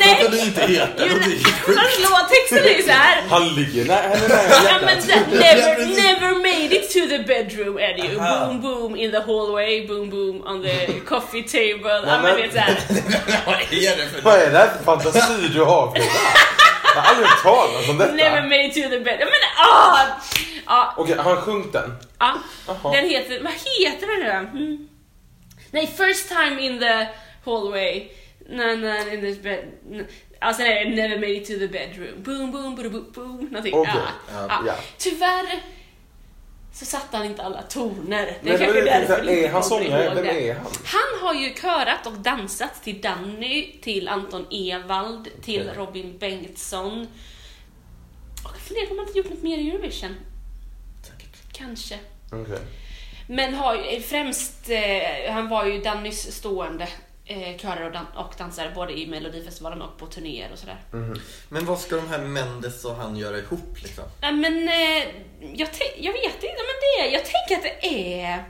Speaker 2: nej!
Speaker 3: Så kan det inte heta.
Speaker 2: Jo,
Speaker 3: Det blir ju sjukt.
Speaker 2: Låttexten är ju såhär.
Speaker 1: Han ligger nära henne nära
Speaker 2: Ja, men
Speaker 1: hjärtat.
Speaker 2: det- never, never made it to the bedroom är det ju.
Speaker 3: Aha.
Speaker 2: Boom boom in the hallway, boom boom on the coffee table. Ja, men
Speaker 1: men-
Speaker 2: vet såhär.
Speaker 3: Vad är det för
Speaker 1: Vad är det här för fantasi du har Frida? Jag har aldrig hört talas om
Speaker 2: Never
Speaker 1: detta.
Speaker 2: made it to the bedroom. Men ah! Ja,
Speaker 1: Okej, har han sjungit den?
Speaker 2: ja.
Speaker 1: Jaha.
Speaker 2: Den heter, vad heter den nu då? Mm. Nej, first time in the hallway. Na, na, in this bed. na- Alltså nej, never made it to the bedroom. Boom, boom, boom, boom, boom. Någonting.
Speaker 1: Okej.
Speaker 2: Ja,
Speaker 3: Ja,
Speaker 1: ja.
Speaker 2: Tyvärr så satte han inte alla toner. Det är
Speaker 1: Men
Speaker 2: kanske
Speaker 1: jag vet
Speaker 2: därför
Speaker 1: inte,
Speaker 2: inte
Speaker 1: är han
Speaker 2: kommer
Speaker 1: sångare?
Speaker 2: ihåg
Speaker 1: Vem
Speaker 2: det.
Speaker 1: är han?
Speaker 2: Han har ju körat och dansat till Danny, till Anton Ewald, till
Speaker 3: Okej.
Speaker 2: Robin Bengtsson. Och jag funderar på om han inte gjort något mer i Eurovision. Kanske.
Speaker 1: Okej.
Speaker 2: Men har ju, främst, eh, han var ju Dannys stående eh, körare och, dan- och dansare både i Melodifestivalen och på turnéer och sådär.
Speaker 1: Mm.
Speaker 3: Men vad ska de här Mendes och han göra ihop liksom?
Speaker 2: Nej men eh, jag, tän- jag vet inte, men det är, jag tänker att det är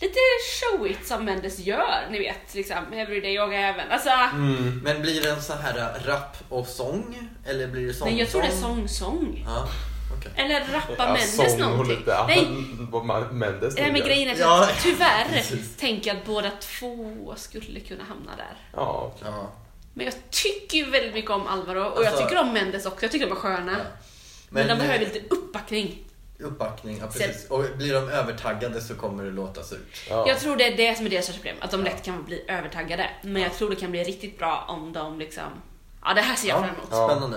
Speaker 2: lite showigt som Mendes gör, ni vet liksom Everyday Yoga även. Alltså,
Speaker 1: Mm.
Speaker 3: Men blir det en så här äh, rap och sång? Eller blir det sång
Speaker 2: nej jag tror det är sång-sång.
Speaker 3: Ja, okej.
Speaker 2: Eller rappa
Speaker 1: Mm. Ja,
Speaker 2: Mendes
Speaker 1: sång och
Speaker 2: någonting.
Speaker 1: lite
Speaker 2: Nej,
Speaker 1: vad Mendes
Speaker 2: nej,
Speaker 1: nu
Speaker 2: men
Speaker 1: gör.
Speaker 2: grejen är att
Speaker 3: Ja.
Speaker 2: jag tyvärr
Speaker 3: Precis.
Speaker 2: tänker jag att båda två skulle kunna hamna där.
Speaker 1: Ja, okej.
Speaker 3: Ja.
Speaker 2: Men jag tycker ju väldigt mycket om Alvaro och jag
Speaker 3: Alltså-
Speaker 2: tycker om Mendes också. Jag tycker de är sköna.
Speaker 3: Ja.
Speaker 2: Men, de
Speaker 3: eh,
Speaker 2: behöver lite uppbackning.
Speaker 3: Uppbackning, ja precis. Och blir de övertaggade så kommer det låta surt.
Speaker 1: Ja.
Speaker 2: Jag tror det är det som är deras största problem, att de lätt kan bli övertaggade. Men jag tror det kan bli riktigt bra om de liksom... Ja, det här ser jag fram emot.
Speaker 1: Ja.
Speaker 3: Spännande.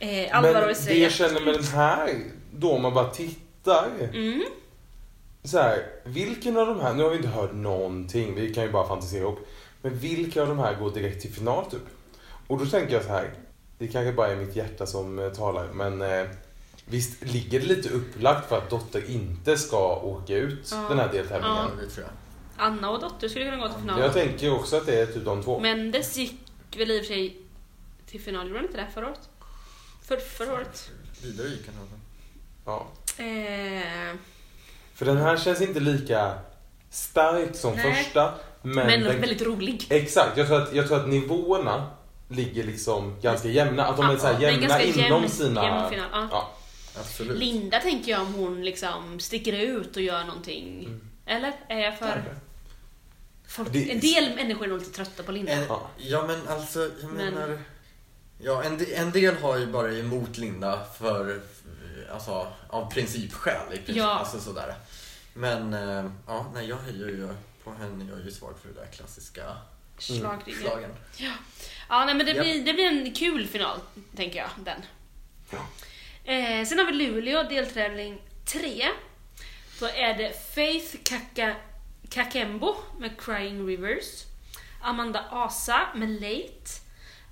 Speaker 2: Eh,
Speaker 1: Men
Speaker 2: Alvaro i
Speaker 1: det
Speaker 2: Sverige.
Speaker 1: jag känner med den här, då om man bara tittar.
Speaker 2: Mm.
Speaker 1: Så här, vilken av de här, nu har vi inte hört någonting, vi kan ju bara fantisera ihop. Men vilka av de här går direkt till final typ? Och då tänker jag så här, det kanske bara är mitt hjärta som eh, talar, men eh, visst ligger det lite upplagt för att Dotter inte ska åka ut
Speaker 2: Ja.
Speaker 1: den här deltävlingen?
Speaker 3: Ja, det tror jag.
Speaker 2: Anna och Dotter skulle kunna gå till final.
Speaker 1: Jag tänker också att det är typ de två.
Speaker 2: Mendes gick väl i och för sig till final, gjorde han inte det förra året? För, förra året.
Speaker 3: Vidare gick han alltså.
Speaker 1: Ja.
Speaker 2: Eh,
Speaker 1: För den här känns inte lika stark som
Speaker 2: Nej.
Speaker 1: första. Men,
Speaker 2: men
Speaker 1: den
Speaker 2: väldigt rolig.
Speaker 1: Exakt, jag tror, att, jag tror att nivåerna ligger liksom ganska jämna. Att de är så här
Speaker 2: Det är en
Speaker 1: jämna
Speaker 2: ganska
Speaker 1: inom
Speaker 2: jämn-
Speaker 1: sina...
Speaker 2: jämn final, ja.
Speaker 3: Absolut.
Speaker 2: Linda tänker jag om hon liksom sticker ut och gör någonting. Eller? Är jag för...
Speaker 1: Kanske.
Speaker 2: Folk,
Speaker 1: Det-
Speaker 2: En del människor är nog lite trötta på Linda.
Speaker 3: En,
Speaker 1: Ja.
Speaker 3: ja men alltså, jag
Speaker 2: Men-
Speaker 3: menar... Ja, en, de- en del har ju bara emot Linda för, alltså, av principskäl. I princip,
Speaker 2: Ja.
Speaker 3: alltså, sådär. Men eh, ja, nej, jag höjer ju på henne. Jag är ju svag för det där klassiska
Speaker 2: Slagringen.
Speaker 3: slagen.
Speaker 2: Ja, nej, men det,
Speaker 3: Japp.
Speaker 2: blir, det blir en kul final, tänker jag. Den.
Speaker 1: Ja.
Speaker 2: Eh, sen har vi Luleå, deltävling 3. Då är det Faith Kaka, Kakembo med Crying Rivers. Amanda Asa med Late.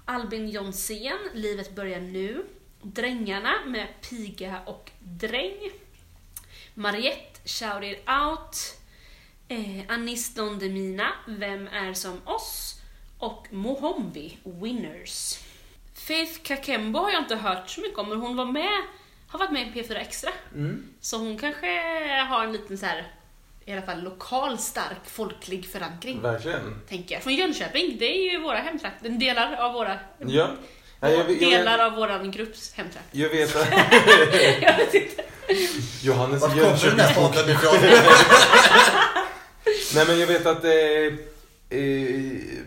Speaker 2: Albin Jonsén, Livet börjar nu. Drängarna med Piga och Dräng. Mariette, Shout it out. Eh, Anis Don Demina, Vem är som oss? Och Mohombi, Winners. Faith Kakembo har jag inte hört så mycket om, men hon var med, har varit med i P4 Extra.
Speaker 1: Mm.
Speaker 2: Så hon kanske har en liten så här, i alla fall lokal stark folklig förankring.
Speaker 1: Verkligen.
Speaker 2: Tänker jag. Från Jönköping, det är ju våra hemtrakter, delar av våra,
Speaker 1: Ja. Nej, jag, jag,
Speaker 2: delar
Speaker 1: jag,
Speaker 2: av våran grupps hemtrakter.
Speaker 1: jag vet att
Speaker 2: jag vet inte.
Speaker 1: Johannes
Speaker 3: Vart
Speaker 1: i
Speaker 3: kommer den
Speaker 1: Jönköping...
Speaker 3: här podden ifrån?
Speaker 1: Nej men jag vet att eh, eh,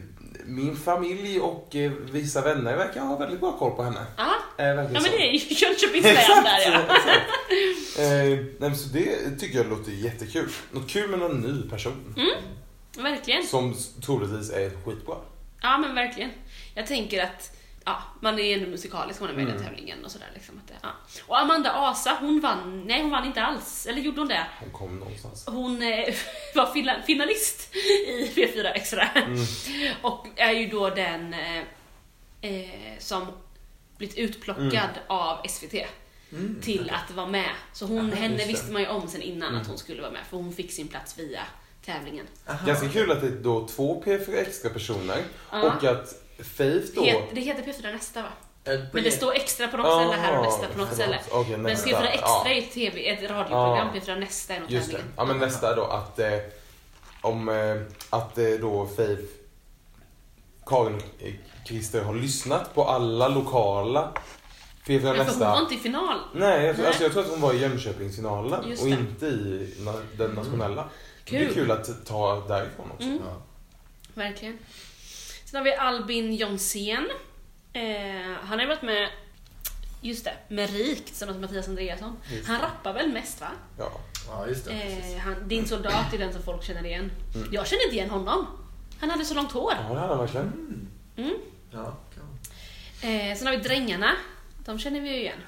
Speaker 1: min familj och eh, vissa vänner verkar ha väldigt bra koll på henne.
Speaker 2: Ja,
Speaker 1: Eh,
Speaker 2: ja men det är ju Jönköpings län
Speaker 1: Exakt!
Speaker 2: där ja.
Speaker 1: exakt. Eh, nej, men så det tycker jag låter jättekul. Något kul med någon ny person.
Speaker 2: Mm. Verkligen.
Speaker 1: Som troligtvis är skitbra.
Speaker 2: Ja men verkligen. Jag tänker att ja, man är ändå musikalisk om man är med i den
Speaker 1: Mm.
Speaker 2: tävlingen och sådär. Liksom, att det, ja. Och Amanda Asa, hon vann, nej hon vann inte alls, eller gjorde hon det?
Speaker 1: Hon kom någonstans.
Speaker 2: Hon eh, var fila- finalist i P4 Extra
Speaker 1: Mm.
Speaker 2: och är ju då den eh, eh, som blivit utplockad
Speaker 1: Mm.
Speaker 2: av SVT till att vara med. Så hon,
Speaker 1: Ja,
Speaker 2: henne
Speaker 1: just det. Mm.
Speaker 2: visste man ju om sen innan att hon skulle vara med för hon fick sin plats via tävlingen.
Speaker 1: Ganska kul att det är då två P4 extra personer
Speaker 2: Ja.
Speaker 1: och att Faith då...
Speaker 2: Het, det heter P4 Nästa va?
Speaker 3: Eh,
Speaker 2: Men det står extra på något
Speaker 1: Ah,
Speaker 2: ställe här och nästa på något
Speaker 1: förlåt.
Speaker 2: ställe.
Speaker 1: Okej,
Speaker 2: Men det
Speaker 1: nästa,
Speaker 2: ska ju vara
Speaker 1: ja.
Speaker 2: extra i ett, TV, ett radioprogram,
Speaker 1: Ah.
Speaker 2: P4 Nästa är nog
Speaker 1: Just det.
Speaker 2: tävlingen.
Speaker 1: Ja, men nästa då att eh, om eh, att eh, då Faith Karin eh, Christer har lyssnat på alla lokala P4
Speaker 2: Men för hon var
Speaker 1: Nästa.
Speaker 2: inte i final.
Speaker 1: Nej, jag, tror-
Speaker 2: Nej.
Speaker 1: Alltså, jag tror att hon var i Jönköpingsfinalen
Speaker 2: Just
Speaker 1: och
Speaker 2: det.
Speaker 1: inte i na- den nationella. Det
Speaker 2: Kul. Mm.
Speaker 1: är kul att ta därifrån också.
Speaker 3: Ja.
Speaker 2: Verkligen. Sen har vi Albin Jonsén. Eh, han har ju varit med, just det, med Rikt, som något Mattias Andreasson.
Speaker 1: Just
Speaker 2: Han rappar väl mest va?
Speaker 1: Ja. Mm.
Speaker 3: ja, just det.
Speaker 2: Eh,
Speaker 3: precis.
Speaker 2: han, din soldat är den som folk känner igen. Jag känner inte igen honom. Han hade så långt hår.
Speaker 1: ja, det hade han verkligen.
Speaker 3: Ja, kan-
Speaker 2: Eh, sen har vi Drängarna. De känner vi ju igen.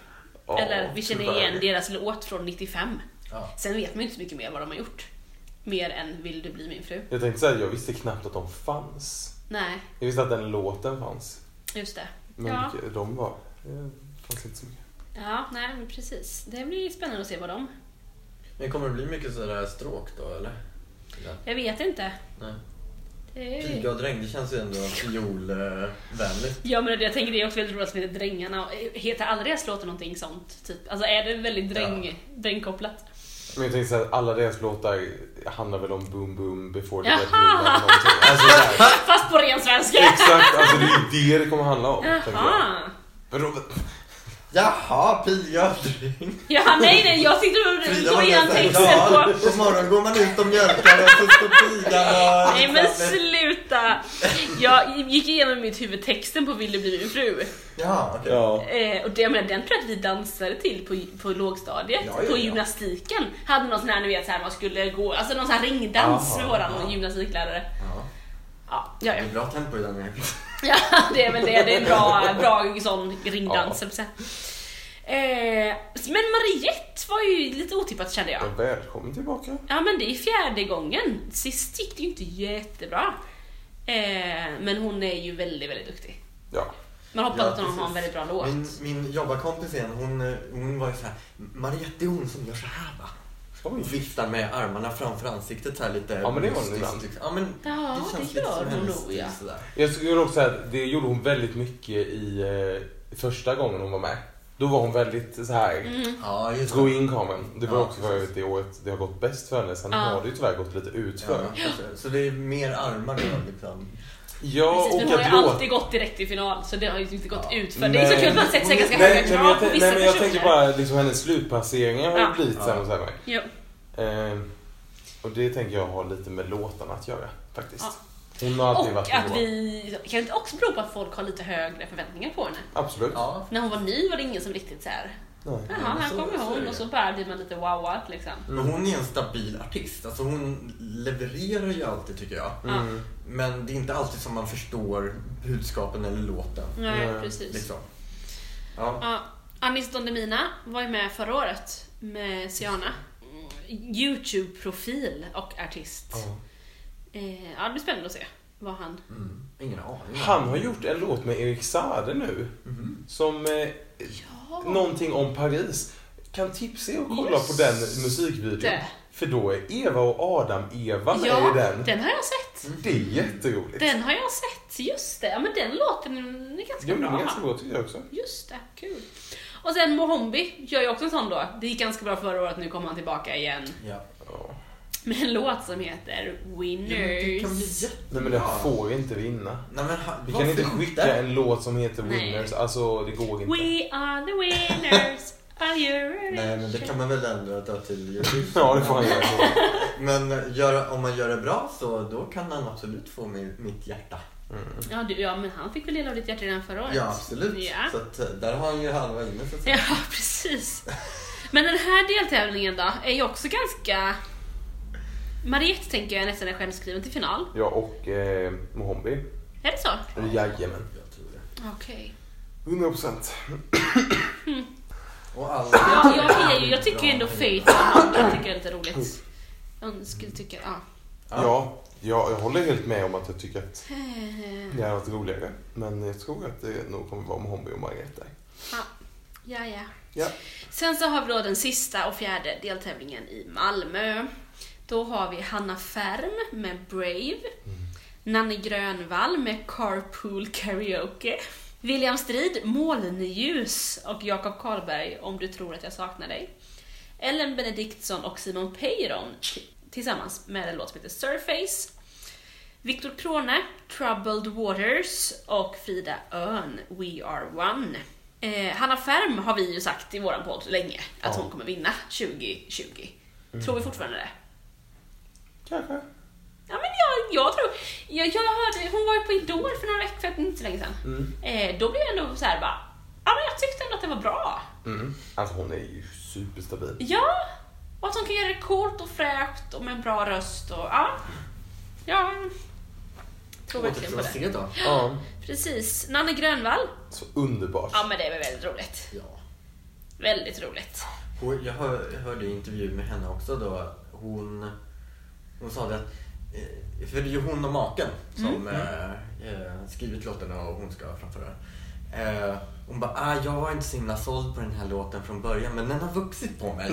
Speaker 1: Ja,
Speaker 2: Eller vi känner
Speaker 1: tyvärr.
Speaker 2: igen deras låt från 95.
Speaker 3: ja.
Speaker 2: Sen vet man ju inte så mycket mer vad de har gjort. Mer än Vill du bli min fru?
Speaker 1: Jag tänkte säga jag visste knappt att de fanns.
Speaker 2: Nej,
Speaker 1: Jag visste att den låten fanns.
Speaker 2: just det.
Speaker 1: Men
Speaker 2: Ja.
Speaker 1: vilka de var, det fanns inte så mycket.
Speaker 2: Ja, nej men precis. Det blir spännande att se vad de...
Speaker 3: Men kommer det bli mycket sådana här stråk då, eller? Ja.
Speaker 2: Jag vet inte.
Speaker 3: Nej.
Speaker 2: Det är...
Speaker 3: Piga och dräng, det känns ju ändå fiolvänligt.
Speaker 2: Ja men jag tänker det är också väldigt roligt som heter Drängarna. Och Heter alla deras låtar någonting sånt? Typ. Alltså är det väldigt dräng, drängkopplat?
Speaker 1: Men jag tänkte såhär, alla deras låtar handlar väl om boom boom before the
Speaker 2: Jaha!
Speaker 1: red moon eller någonting. Alltså såhär,
Speaker 2: Fast på ren svenska!
Speaker 1: exakt, alltså det är ju det det kommer handla om. tänker jag.
Speaker 2: Jaha!
Speaker 1: Men då,
Speaker 3: Jaha, piga och dräng.
Speaker 2: Ja, nej nej, jag sitter och går igenom texten
Speaker 3: Ja,
Speaker 2: på...
Speaker 3: på morgonen går man ut och mjölkar och så står pigan och...
Speaker 2: Nej men sluta! Jag gick igenom i mitt huvud texten på Vill du bli min fru.
Speaker 3: Ja, okej.
Speaker 1: ja.
Speaker 2: Eh, och det, jag menar, den tror jag att vi dansade till på, på lågstadiet,
Speaker 3: Ja, ja,
Speaker 2: på
Speaker 3: ja.
Speaker 2: gymnastiken. Hade någon sån här, ni vet, så här, man skulle gå, alltså någon sån här
Speaker 1: Aha,
Speaker 2: ringdans med våran gymnastiklärare.
Speaker 3: Ja.
Speaker 2: Ja, ja,
Speaker 3: Det
Speaker 2: ja.
Speaker 3: är bra tempo i den här.
Speaker 2: ja, det är väl det. Det är en bra, bra sån ringdans.
Speaker 1: Ja.
Speaker 2: Ja. Eh, men Mariette var ju lite otippat kände jag.
Speaker 1: Ja, Välkommen tillbaka.
Speaker 2: Ja men det är fjärde gången. Sist gick det ju inte jättebra. Eh, men hon är ju väldigt, väldigt duktig.
Speaker 1: Ja.
Speaker 2: Man hoppas
Speaker 3: Ja,
Speaker 2: att hon har en
Speaker 3: precis.
Speaker 2: väldigt bra låt.
Speaker 3: Min, min jobbarkompis igen, hon, eh, hon var ju såhär, Mariette det är hon som gör så här va?
Speaker 1: Oj.
Speaker 3: Hon viftar med armarna framför ansiktet så här lite
Speaker 1: Ja, men det gör hon
Speaker 3: mystiskt,
Speaker 1: ibland.
Speaker 3: liksom. Ja men
Speaker 2: Ja,
Speaker 3: det känns
Speaker 2: det
Speaker 3: lite
Speaker 2: gör
Speaker 3: som
Speaker 2: hon
Speaker 3: hennes
Speaker 2: nog,
Speaker 3: stil
Speaker 2: ja.
Speaker 3: sådär.
Speaker 1: Jag skulle också säga att det gjorde hon väldigt mycket i eh, första gången hon var med. Då var hon väldigt så här
Speaker 2: Mm.
Speaker 3: Ja just
Speaker 1: go in common. Det var
Speaker 3: Ja,
Speaker 1: också för övrigt det året det har gått bäst för henne. Sen
Speaker 2: Ja.
Speaker 1: har det ju tyvärr gått lite utför.
Speaker 3: Ja, så- Så det är mer armar då liksom.
Speaker 1: Ja,
Speaker 2: Precis, men
Speaker 1: och
Speaker 2: hon har
Speaker 1: att
Speaker 2: ju
Speaker 1: låt...
Speaker 2: alltid gått direkt till final så det har ju inte gått
Speaker 3: Ja.
Speaker 2: ut för Det är så
Speaker 1: Nej.
Speaker 2: kul att man sätter sig ganska
Speaker 1: Nej,
Speaker 2: höga
Speaker 1: nej, men jag,
Speaker 2: krav på
Speaker 1: tän-
Speaker 2: vissa
Speaker 1: nej men jag
Speaker 2: personer.
Speaker 1: tänker bara liksom hennes slutpasseringar har ju
Speaker 2: Ja.
Speaker 1: blivit
Speaker 3: Ja.
Speaker 1: sämre och sämre.
Speaker 2: Ja.
Speaker 1: Eh, och det tänker jag har lite med låtarna att göra faktiskt.
Speaker 2: Ja.
Speaker 1: Hon har alltid
Speaker 2: Och
Speaker 1: varit
Speaker 2: att
Speaker 1: bra.
Speaker 2: vi, kan inte också bero på att folk har lite högre förväntningar på henne?
Speaker 1: Absolut.
Speaker 3: Ja.
Speaker 2: När hon var ny var det ingen som riktigt såhär,
Speaker 1: Nej.
Speaker 2: jaha,
Speaker 3: men
Speaker 2: här
Speaker 3: så-
Speaker 2: kommer
Speaker 3: så är
Speaker 2: hon
Speaker 3: det.
Speaker 2: och så bara blir man lite wowad liksom.
Speaker 3: Men hon är en stabil artist, alltså hon levererar ju alltid tycker jag.
Speaker 1: Mm.
Speaker 2: Ja.
Speaker 3: Men det är inte alltid som man förstår budskapen eller låten.
Speaker 2: Nej,
Speaker 1: Nej,
Speaker 2: precis.
Speaker 3: Liksom. Ja.
Speaker 2: Ja, Anis Don Demina var ju med förra året med Siana. Mm, Youtube-profil och artist.
Speaker 1: Ja.
Speaker 2: Eh, ja, det blir spännande att se vad han...
Speaker 3: Mm. Ingen aning.
Speaker 1: Han har gjort en låt med Erik Saade nu.
Speaker 3: Mm-hmm.
Speaker 1: Som eh, någonting om Paris. Kan tipsa er och kolla
Speaker 2: Just
Speaker 1: på den musikvideon.
Speaker 2: det.
Speaker 1: För då är Eva och Adam-Eva med
Speaker 2: ja,
Speaker 1: i den.
Speaker 2: den har jag sett!
Speaker 1: Det är jätteroligt.
Speaker 2: Den har jag sett, just det. Ja, men den låten är ganska
Speaker 1: Jo, men det
Speaker 2: bra.
Speaker 1: är ganska bra tycker jag också.
Speaker 2: Just det, kul. Och sen Mohombi gör ju också en sån då. Det gick ganska bra förra året, nu kommer han tillbaka igen
Speaker 3: Ja.
Speaker 1: Ja.
Speaker 2: med en låt som heter
Speaker 3: Ja, men Det kan bli
Speaker 2: Winners.
Speaker 3: jättebra.
Speaker 1: Nej men den får inte vinna.
Speaker 3: Nej, men han,
Speaker 1: Vi kan inte
Speaker 3: varför
Speaker 1: skicka en låt som heter
Speaker 2: Nej.
Speaker 1: Winners. Alltså det går inte.
Speaker 2: We are the winners of Eurovision.
Speaker 3: Nej, men det kan man väl ändra ta till Eurovision.
Speaker 1: Ja det får han göra.
Speaker 3: Men gör, om man gör det bra så då kan han absolut få mi- mitt hjärta.
Speaker 2: Ja, du, ja, men han fick väl del av ditt hjärta redan förra året?
Speaker 3: Ja, absolut.
Speaker 2: Ja.
Speaker 3: Så att, eh, där har han ju halva inne så att säga.
Speaker 2: ja, precis. Men den här deltävlingen då, är ju också ganska... Mariette tänker jag nästan är självskriven till final.
Speaker 1: Ja och eh, Mohombi.
Speaker 2: Är det så?
Speaker 1: Jajamän.
Speaker 3: Jag tror det.
Speaker 2: Okej.
Speaker 1: 100 procent.
Speaker 3: Och alla...
Speaker 2: Ja, jag, är ju, jag tycker ju
Speaker 3: Bra.
Speaker 2: ändå Faith var något jag tycker är lite roligt. Jag skulle tycka, ja.
Speaker 1: Ja, jag, jag håller helt med om att jag tycker att
Speaker 2: Eh,
Speaker 1: det hade varit roligare. Men jag tror att det nog kommer vara Mohombi och Margareta.
Speaker 2: Ja, ja. ja.
Speaker 1: Ja.
Speaker 2: Sen så har vi då den sista och fjärde deltävlingen i Malmö. Då har vi Hanna Färm med Brave. Nanne Grönvall med Carpool Karaoke. William Strid, Molnljus och Jakob Karlberg, Om du tror att jag saknar dig. Ellen Benediktsson och Simon Peyron t- tillsammans med en låt som heter Surface. Viktor Krone, Troubled Waters och Frida Örn, We Are One. Eh, Hanna Färm har vi ju sagt i våran podd länge att
Speaker 1: Ja.
Speaker 2: hon kommer vinna 2020. Tror vi fortfarande det?
Speaker 1: Kanske.
Speaker 2: Ja men jag, jag tror, jag, jag hörde, hon var ju på Idol för några veckor, för inte så länge sedan. Eh, då blev jag ändå så här bara, ja men jag tyckte ändå att det var bra.
Speaker 1: Mm. Alltså hon är ju superstabil.
Speaker 2: Ja, och att hon kan göra det coolt och fräscht och med en bra röst och ja. Ja, tror verkligen
Speaker 3: Återstår
Speaker 2: på
Speaker 3: att
Speaker 2: det.
Speaker 3: se då.
Speaker 1: Ja.
Speaker 2: Precis, Nanne Grönvall.
Speaker 1: Så underbart.
Speaker 2: Ja men det var väldigt roligt.
Speaker 3: Ja.
Speaker 2: Väldigt roligt.
Speaker 3: Hon, jag, hör, jag hörde en intervju med henne också då. Hon, hon sa det att, eh, för det är ju hon och maken
Speaker 1: Mm.
Speaker 3: som eh, eh, skrivit låtarna och hon ska framföra den. Eh, hon bara, ah, jag var inte så himla såld på den här låten från början men den har vuxit på mig.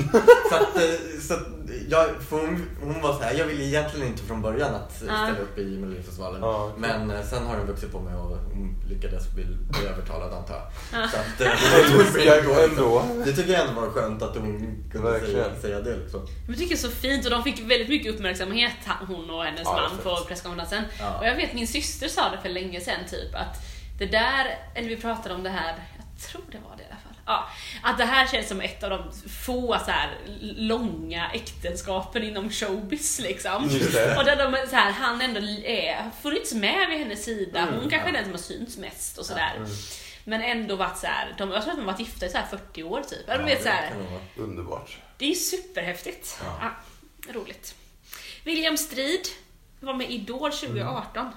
Speaker 3: så att, eh, så att jag, för hon, hon var så här, jag ville egentligen inte från början att ställa
Speaker 2: Ah.
Speaker 3: upp i Melodifestivalen.
Speaker 1: Ja, okej.
Speaker 3: Men eh, sen har den vuxit på mig och hon lyckades bli, bli övertalad antar jag. Så att, eh, det var ju
Speaker 1: Jag
Speaker 3: bra
Speaker 1: ändå.
Speaker 3: det tycker jag ändå var skönt att hon kunde
Speaker 1: Verkligen.
Speaker 3: säga, säga det. Liksom.
Speaker 2: Jag tycker det är så fint och de fick väldigt mycket uppmärksamhet han- hon och hennes
Speaker 1: Ja, det är
Speaker 2: man
Speaker 1: fint.
Speaker 2: på presskonferensen.
Speaker 3: Ja.
Speaker 2: Och jag vet min syster sa det för länge sedan typ att det där, eller vi pratade om det här, jag tror det var det i alla fall. Ja, att det här känns som ett av de få så här l- långa äktenskapen inom showbiz liksom.
Speaker 1: Just det.
Speaker 2: Och där de, så här, han ändå är, har funnits med vid hennes sida,
Speaker 1: Mm,
Speaker 2: hon kanske är den som har synts mest och sådär. Men ändå varit såhär, de, jag tror att de varit gifta i så här 40 år typ. Ja, du vet, så här,
Speaker 3: kan nog vara.
Speaker 1: Underbart.
Speaker 2: det är ju superhäftigt. Ja.
Speaker 3: Ja.
Speaker 2: roligt. William Strid var med i Idol 2018. Ja,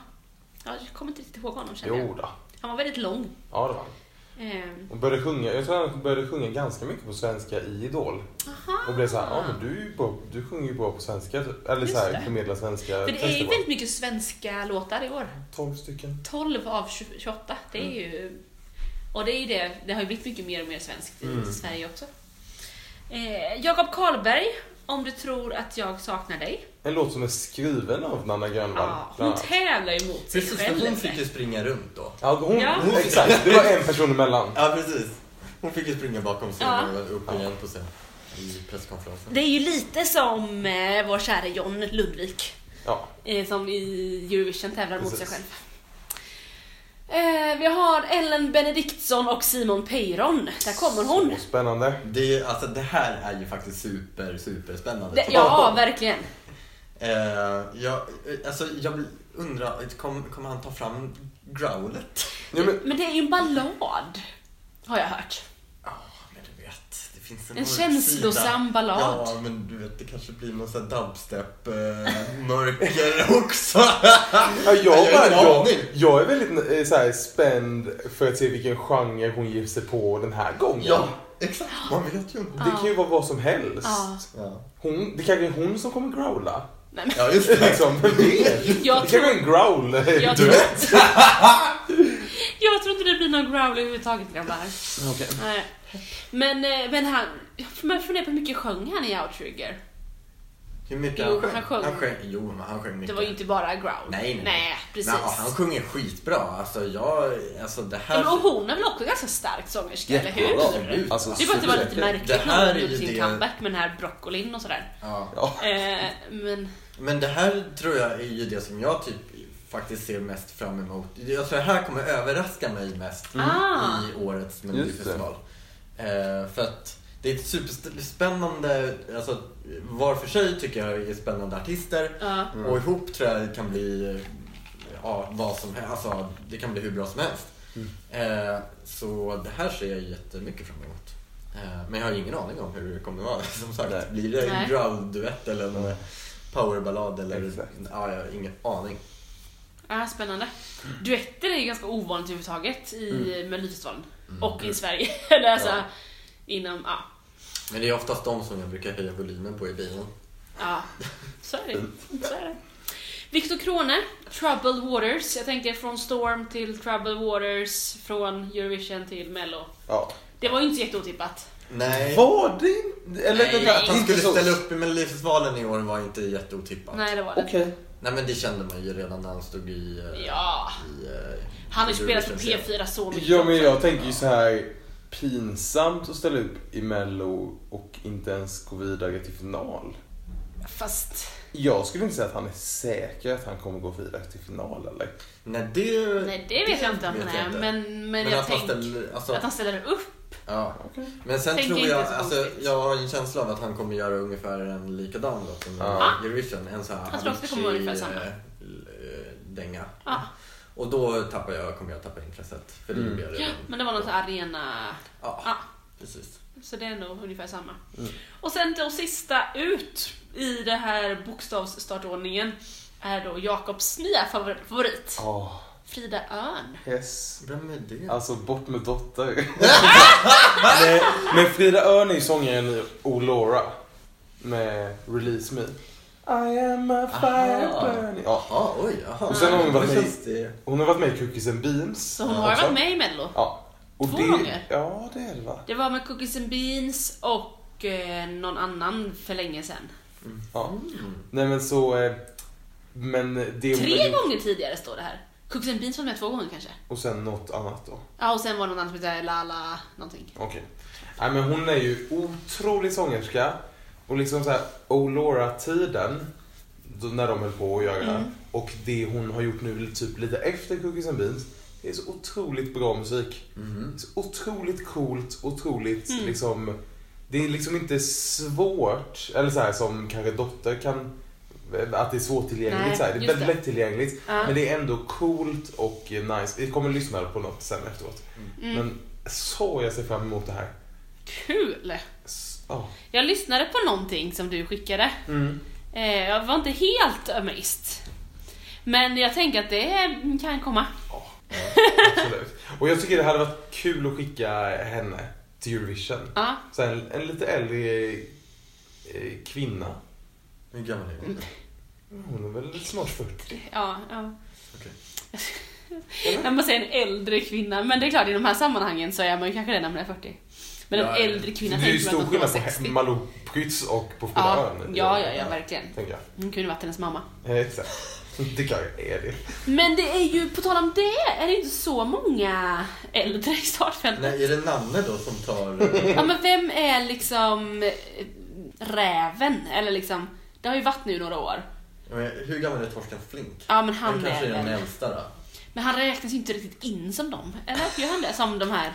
Speaker 2: Jag kommer inte riktigt ihåg honom känner
Speaker 1: Jo
Speaker 2: jag.
Speaker 1: då.
Speaker 2: Han var väldigt lång.
Speaker 1: Ja det var han.
Speaker 2: Ehm,
Speaker 1: Hon började sjunga, jag tror han började sjunga ganska mycket på svenska i Idol.
Speaker 2: aha.
Speaker 1: Och blev såhär, ja men du, är ju bra, du sjunger ju bra på svenska. typ. Eller
Speaker 2: Just
Speaker 1: såhär
Speaker 2: det.
Speaker 1: förmedlar svenska
Speaker 2: För det är ju
Speaker 1: texter
Speaker 2: väldigt mycket svenska låtar i år.
Speaker 1: 12 stycken.
Speaker 2: 12 av 20 28. Det är ju... Och det är ju det, det har ju blivit mycket mer och mer svenskt i Sverige också. Eh, Jakob Karlberg, Om du tror att jag saknar dig.
Speaker 1: En låt som är skriven av Nanna Grönvall.
Speaker 2: Ja,
Speaker 1: bland
Speaker 2: hon
Speaker 1: annat.
Speaker 2: tävlar ju mot sig
Speaker 3: Precis,
Speaker 2: själv.
Speaker 3: för hon fick ju springa runt då.
Speaker 1: Ja, hon,
Speaker 2: Ja.
Speaker 1: hon- Exakt, det var en person emellan.
Speaker 3: Ja, precis. Hon fick ju springa bakom sig
Speaker 2: Ja.
Speaker 3: och upp igen på scen i presskonferensen.
Speaker 2: Det är ju lite som eh, vår kära John Lundvik
Speaker 1: Ja.
Speaker 2: eh, som i Eurovision tävlar mot sig
Speaker 1: Precis.
Speaker 2: själv. Eh, vi har Ellen Benediktsson och Simon Peyron. Där kommer hon.
Speaker 1: Så spännande.
Speaker 3: Det, är- alltså, det här är ju faktiskt super, super spännande.
Speaker 2: Det, ja, verkligen.
Speaker 3: Eh, jag, eh, alltså, jag undrar, kom- kommer han ta fram growlet?
Speaker 1: Ja, men,
Speaker 2: Men det är ju en ballad, har jag hört.
Speaker 3: Ja, men du vet. Det finns en,
Speaker 2: En
Speaker 3: mörk
Speaker 2: känslosam
Speaker 3: sida.
Speaker 2: ballad.
Speaker 3: Ja, men du vet, det kanske blir någon sån här dubstep-mörker också.
Speaker 1: ja, jag,
Speaker 3: Jag har
Speaker 1: jag,
Speaker 3: ingen
Speaker 1: jag,
Speaker 3: aning.
Speaker 1: jag är väldigt eh, såhär, spänd för att se vilken genre hon ger sig på den här gången.
Speaker 3: ja, exakt. Man vet ju inte.
Speaker 1: Det kan ju vara vad som helst.
Speaker 2: Ja.
Speaker 3: Ja,
Speaker 1: Hon, det kanske är hon som kommer growla.
Speaker 2: Nej, men,
Speaker 3: ja just det.
Speaker 1: Liksom, vem vet?
Speaker 2: jag,
Speaker 1: Det
Speaker 2: tror,
Speaker 1: kanske är en growl.
Speaker 2: jag,
Speaker 1: Du
Speaker 2: tror,
Speaker 1: vet.
Speaker 2: jag tror inte det blir någon growl överhuvudtaget grabbar. Nej. Men, eh, men han, man funderar på hur mycket sjöng han i Outrigger?
Speaker 3: Hur mycket
Speaker 2: Jo,
Speaker 3: han sjöng?
Speaker 2: han sjöng.
Speaker 3: Jo, men han sjöng mycket.
Speaker 2: Det var ju inte bara growl.
Speaker 3: Nej, nej.
Speaker 2: nej precis.
Speaker 3: Men, ja, han sjunger skitbra. Alltså, jag... Alltså, det
Speaker 2: Ja,
Speaker 3: här...
Speaker 2: men och hon är väl också ganska stark sångerska, eller hur?
Speaker 3: Jättebra, absolut.
Speaker 1: Alltså,
Speaker 2: det är bara att det var
Speaker 3: supersäker.
Speaker 2: lite märkligt
Speaker 3: Alltså, Det här
Speaker 2: när hon
Speaker 3: är
Speaker 2: gjorde
Speaker 3: ju
Speaker 2: sin
Speaker 3: det-
Speaker 2: comeback med den här broccolin och sådär.
Speaker 3: Ja.
Speaker 1: Ja.
Speaker 2: Eh, men
Speaker 3: Men det här tror jag är ju det som jag typ faktiskt ser mest fram emot. Jag tror det här kommer överraska mig mest
Speaker 2: Ah.
Speaker 3: i årets Melodifestival. Eh, för att det är ett superspännande, alltså var för sig tycker jag är spännande artister
Speaker 2: Ja.
Speaker 1: Mm.
Speaker 3: och ihop tror jag det kan bli eh, ja, vad som helst, alltså det kan bli hur bra som helst.
Speaker 1: Mm.
Speaker 3: Eh, så det här ser jag jättemycket fram emot. Eh, men jag har ingen aning om hur det kommer vara. Som sagt,
Speaker 1: Nej. Mm.
Speaker 3: blir det
Speaker 2: Nej.
Speaker 3: en growl-duett eller en powerballad eller...
Speaker 1: Exakt.
Speaker 3: Ja, jag har ingen aning.
Speaker 2: ja, spännande. Duetter är ju ganska ovanligt överhuvudtaget i Melodifestivalen. Och i Sverige. eller alltså,
Speaker 3: Mm. Ja.
Speaker 2: inom, ja.
Speaker 3: Men det är oftast de som jag brukar höja volymen på i bilen.
Speaker 2: ja. Så är
Speaker 3: Mm.
Speaker 2: det. Så är det. Victor Krone, Troubled Waters. Jag tänker från Storm till Troubled Waters, från Eurovision till Mello.
Speaker 1: Ja.
Speaker 2: Det var ju inte så jätteotippat.
Speaker 3: Nej.
Speaker 1: Var det inte- eller,
Speaker 2: Nej,
Speaker 1: vänta,
Speaker 3: Att han
Speaker 1: inte
Speaker 3: skulle
Speaker 1: så.
Speaker 3: ställa upp i Melodifestivalen i år var inte jätteotippat.
Speaker 2: Nej, det var det inte.
Speaker 1: Okej.
Speaker 3: Nej men det kände man ju redan när han stod i... eh,
Speaker 2: Ja.
Speaker 3: i eh,
Speaker 2: Han har ju
Speaker 3: Hur
Speaker 2: spelat
Speaker 3: det
Speaker 2: på
Speaker 3: känns,
Speaker 2: P4 så mycket
Speaker 1: Ja men
Speaker 2: också.
Speaker 1: jag tänker ju så här pinsamt att ställa upp i mello och inte ens gå vidare till final.
Speaker 2: Fast...
Speaker 1: Jag skulle inte säga att han är säker att han kommer gå vidare till final eller?
Speaker 3: Nej, det...
Speaker 2: Nej, det vet jag inte om han är. Men, men,
Speaker 3: Men
Speaker 2: jag
Speaker 3: att han
Speaker 2: tänker
Speaker 3: ställer- alltså-
Speaker 2: att han ställer upp.
Speaker 3: Ja.
Speaker 1: Okej.
Speaker 3: Men sen
Speaker 2: Tänk
Speaker 3: tror
Speaker 2: inte
Speaker 3: jag,
Speaker 2: så
Speaker 3: alltså,
Speaker 2: konstigt.
Speaker 3: jag har en känsla av att han kommer göra ungefär en likadan låt som
Speaker 1: Ja.
Speaker 3: Eurovision. En sån här
Speaker 2: Jag tror också det kommer vara ungefär samma.
Speaker 3: eh, l- eh, dänga.
Speaker 2: Ja.
Speaker 3: Och då tappar jag, kommer jag tappa intresset. För
Speaker 1: Mm.
Speaker 3: det gjorde jag redan.
Speaker 2: Men det var någon sån här arena...
Speaker 3: Ja,
Speaker 2: Ja,
Speaker 3: precis.
Speaker 2: så det är nog ungefär samma.
Speaker 1: Mm.
Speaker 2: Och sen då sista ut i den här bokstavsstartordningen är då Jakobs nya favor- favorit,
Speaker 1: Ja,
Speaker 2: Frida Örn.
Speaker 1: yes.
Speaker 3: Vem är det?
Speaker 1: Alltså bort med dotter. Nej, men Frida Örn är ju sångaren i Olora med Release Me. I am a fire
Speaker 3: Aha.
Speaker 1: burning. Ja.
Speaker 3: Jaha, oj, jaha.
Speaker 1: Och sen har hon varit
Speaker 3: Det
Speaker 1: med-
Speaker 3: känns det-
Speaker 1: Hon har varit med i Cookies and Beams.
Speaker 2: Så hon har ju
Speaker 1: också.
Speaker 2: varit med i Mello.
Speaker 1: Ja. Och
Speaker 2: Två
Speaker 1: det,
Speaker 2: gånger.
Speaker 1: Ja, det är det va?
Speaker 2: Det var med Cookies and Beans och eh, någon annan för länge sedan.
Speaker 1: Ja.
Speaker 2: Mm.
Speaker 3: Mm.
Speaker 1: Nej men så... eh, Men det hon
Speaker 2: Tre
Speaker 1: lägger-
Speaker 2: gånger tidigare står det här. Cookies and Beans var med två gånger kanske.
Speaker 1: Och sen något annat då.
Speaker 2: Ja, och sen var det någon annan som hette Lala någonting.
Speaker 1: Okej. Nej men hon är ju otrolig sångerska. Och liksom såhär Olora-tiden, då- när de höll på att göra.
Speaker 2: Mm.
Speaker 1: Och det hon har gjort nu typ lite efter Cookies and Beans. Det är så otroligt bra musik.
Speaker 3: Mm.
Speaker 1: Det är Så otroligt coolt, otroligt
Speaker 2: Mm.
Speaker 1: liksom. Det är liksom inte svårt, eller så här som kanske Dotter kan, att det är svårtillgängligt.
Speaker 2: Nej,
Speaker 1: så här. Det är
Speaker 2: just
Speaker 1: väldigt
Speaker 2: det.
Speaker 1: lättillgängligt.
Speaker 2: Ja.
Speaker 1: Men det är ändå coolt och nice. Vi kommer lyssna på något sen efteråt.
Speaker 2: Mm.
Speaker 1: Men så jag ser fram emot det här.
Speaker 2: Kul!
Speaker 1: S- ja.
Speaker 2: Jag lyssnade på någonting som du skickade.
Speaker 1: Mm.
Speaker 2: Eh, jag var inte helt amazed. Men jag tänker att det kan komma.
Speaker 1: Absolut. Och jag tycker det hade varit kul att skicka henne till Eurovision.
Speaker 2: Ja.
Speaker 1: Så här, en, en lite äldre eh, kvinna.
Speaker 3: Hur gammal är hon?
Speaker 1: Hon är väl snart 40.
Speaker 2: Ja, ja.
Speaker 3: Okej.
Speaker 2: Jag måste säga en äldre kvinna, men det är klart i de här sammanhangen så är man ju kanske redan när man är 40. Men en
Speaker 3: Ja, ja.
Speaker 2: äldre kvinna
Speaker 1: det är ju
Speaker 2: tänker man
Speaker 1: stor
Speaker 2: att
Speaker 1: skillnad
Speaker 2: man var
Speaker 1: på
Speaker 2: 60.
Speaker 1: Malou Prytz och på Frida
Speaker 2: Ja,
Speaker 1: Örn.
Speaker 2: ja, ja, ja, verkligen.
Speaker 1: Tänker jag.
Speaker 2: Hon kunde varit hennes mamma.
Speaker 1: Eh, Exakt. Det kanske är det.
Speaker 2: Men det är ju, på tal om det, är det inte så många äldre i startfältet.
Speaker 3: Nej, är det Nanne då som tar...
Speaker 2: Ja men vem är liksom eh, räven? Eller liksom, det har ju varit nu några år.
Speaker 3: Jag menar, Hur gammal är Torsten Flink?
Speaker 2: Ja men han,
Speaker 3: han kanske är
Speaker 2: är
Speaker 3: den
Speaker 2: väl.
Speaker 3: äldsta då.
Speaker 2: Men han räknas ju inte riktigt in som dem. Eller gör han det? Som de här.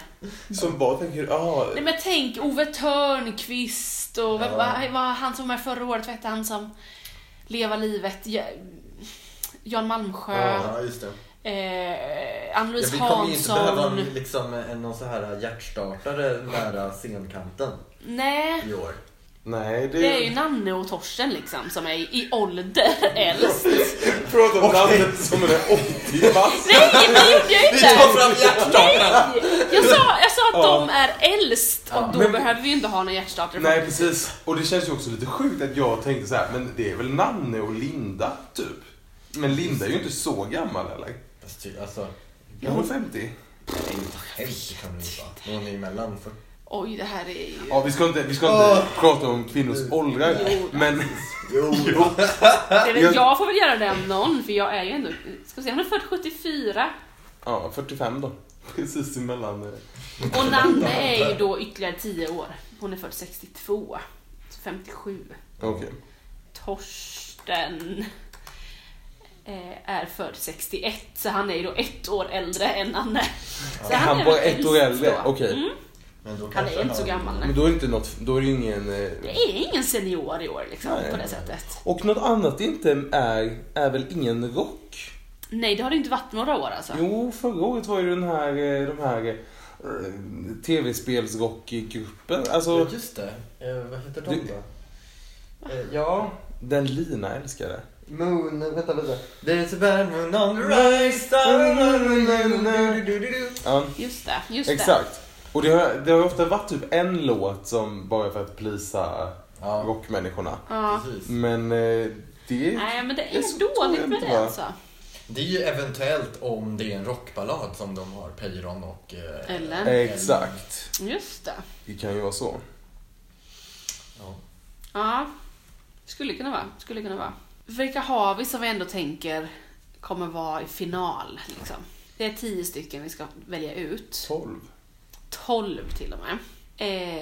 Speaker 1: Som bara tänker, ah,
Speaker 2: Nej men tänk Ove Törnqvist och vem,
Speaker 3: Ja.
Speaker 2: vad, vad, han som var med förra året, vad hette han som Leva livet? J- Jan Malmsjö.
Speaker 3: Ja, just det.
Speaker 2: Eh,
Speaker 3: Ja,
Speaker 2: Ann-Louise
Speaker 3: vi kommer ju inte behöva
Speaker 2: Hansson.
Speaker 3: en- liksom, en, någon så här hjärtstartare nära scenkanten
Speaker 2: Nej.
Speaker 3: i år.
Speaker 1: nej det,
Speaker 2: Det är ju Nanne och Torsten liksom som är i i ålder äldst.
Speaker 1: Prata om
Speaker 3: Okej.
Speaker 1: landet som är 80 bast.
Speaker 2: Nej, det gjorde jag
Speaker 3: Vi
Speaker 2: inte!
Speaker 3: tar fram hjärtstartaren!
Speaker 2: Jag sa, jag sa att
Speaker 1: Ja.
Speaker 2: de är äldst och då
Speaker 1: Men-
Speaker 2: behöver vi inte ha någon hjärtstartare.
Speaker 1: Nej precis, och det känns ju också lite sjukt att jag tänkte så här, men det är väl Nanne och Linda typ? Men Linda är ju inte så gammal eller?
Speaker 3: Fast ty- Alltså,
Speaker 1: Är hon 50?
Speaker 3: hemskt kan det ju vara. Någon är emellan. För...
Speaker 2: Oj, det här är ju...
Speaker 1: Ja vi ska inte, vi ska inte prata om kvinnors åldrar
Speaker 2: Jo.
Speaker 1: men
Speaker 3: Jo,
Speaker 2: Det är väl,
Speaker 1: jag-
Speaker 2: jag får väl göra det om någon, för jag är ju ändå... Ska vi se, han är född 74.
Speaker 1: ja 45 då. Precis emellan. eh.
Speaker 2: Och Nanne är ju då ytterligare 10 år. Hon är född 62. Så 57.
Speaker 1: Okej.
Speaker 2: Torsten eh, är född 61, så han är ju då ett år äldre än Nanne. Så
Speaker 1: Han
Speaker 2: är
Speaker 1: var
Speaker 2: väl
Speaker 1: ett år
Speaker 2: äldst
Speaker 1: äldre,
Speaker 2: då.
Speaker 1: okej.
Speaker 2: Mm.
Speaker 3: Men då
Speaker 2: Han
Speaker 3: kanske
Speaker 2: är inte så gammal. nej.
Speaker 1: Men då är det inte något, då är det ju ingen... eh,
Speaker 2: Det är ingen senior i år liksom,
Speaker 1: Nej.
Speaker 2: på det sättet.
Speaker 1: Och något annat det inte är, är väl ingen rock?
Speaker 2: Nej, det har det inte varit några år alltså.
Speaker 1: Jo, förra året var ju den här, eh, de här eh, tv-spelsrockgruppen, alltså
Speaker 3: Ja, just det. Eh, vad heter
Speaker 1: Du-
Speaker 3: de då? Eh, ja,
Speaker 1: den Lina älskade.
Speaker 3: Moon... Vänta, vänta. There's a bad moon on the rise du-du-du-du-du-du.
Speaker 1: Ja,
Speaker 2: Just det, just det.
Speaker 1: exakt. Och det har, det har ju ofta varit typ en låt som bara för att plisa
Speaker 3: Ja,
Speaker 1: rockmänniskorna.
Speaker 2: Ja.
Speaker 3: precis.
Speaker 1: Men eh, det...
Speaker 2: Nej, men det
Speaker 1: Det är
Speaker 2: är
Speaker 1: så tror
Speaker 2: dåligt
Speaker 1: jag
Speaker 2: med
Speaker 1: inte,
Speaker 2: det
Speaker 1: va?
Speaker 2: alltså.
Speaker 3: Det är ju eventuellt om det är en rockballad som de har, Peyron och... eh,
Speaker 2: Ellen.
Speaker 1: Exakt.
Speaker 2: Just det.
Speaker 1: Det kan ju vara så.
Speaker 3: Ja.
Speaker 2: Ja. Skulle kunna vara, skulle kunna vara. Vilka har vi som vi ändå tänker kommer vara i final liksom? Det är tio stycken vi ska välja ut.
Speaker 1: 12.
Speaker 2: Tolv till och med.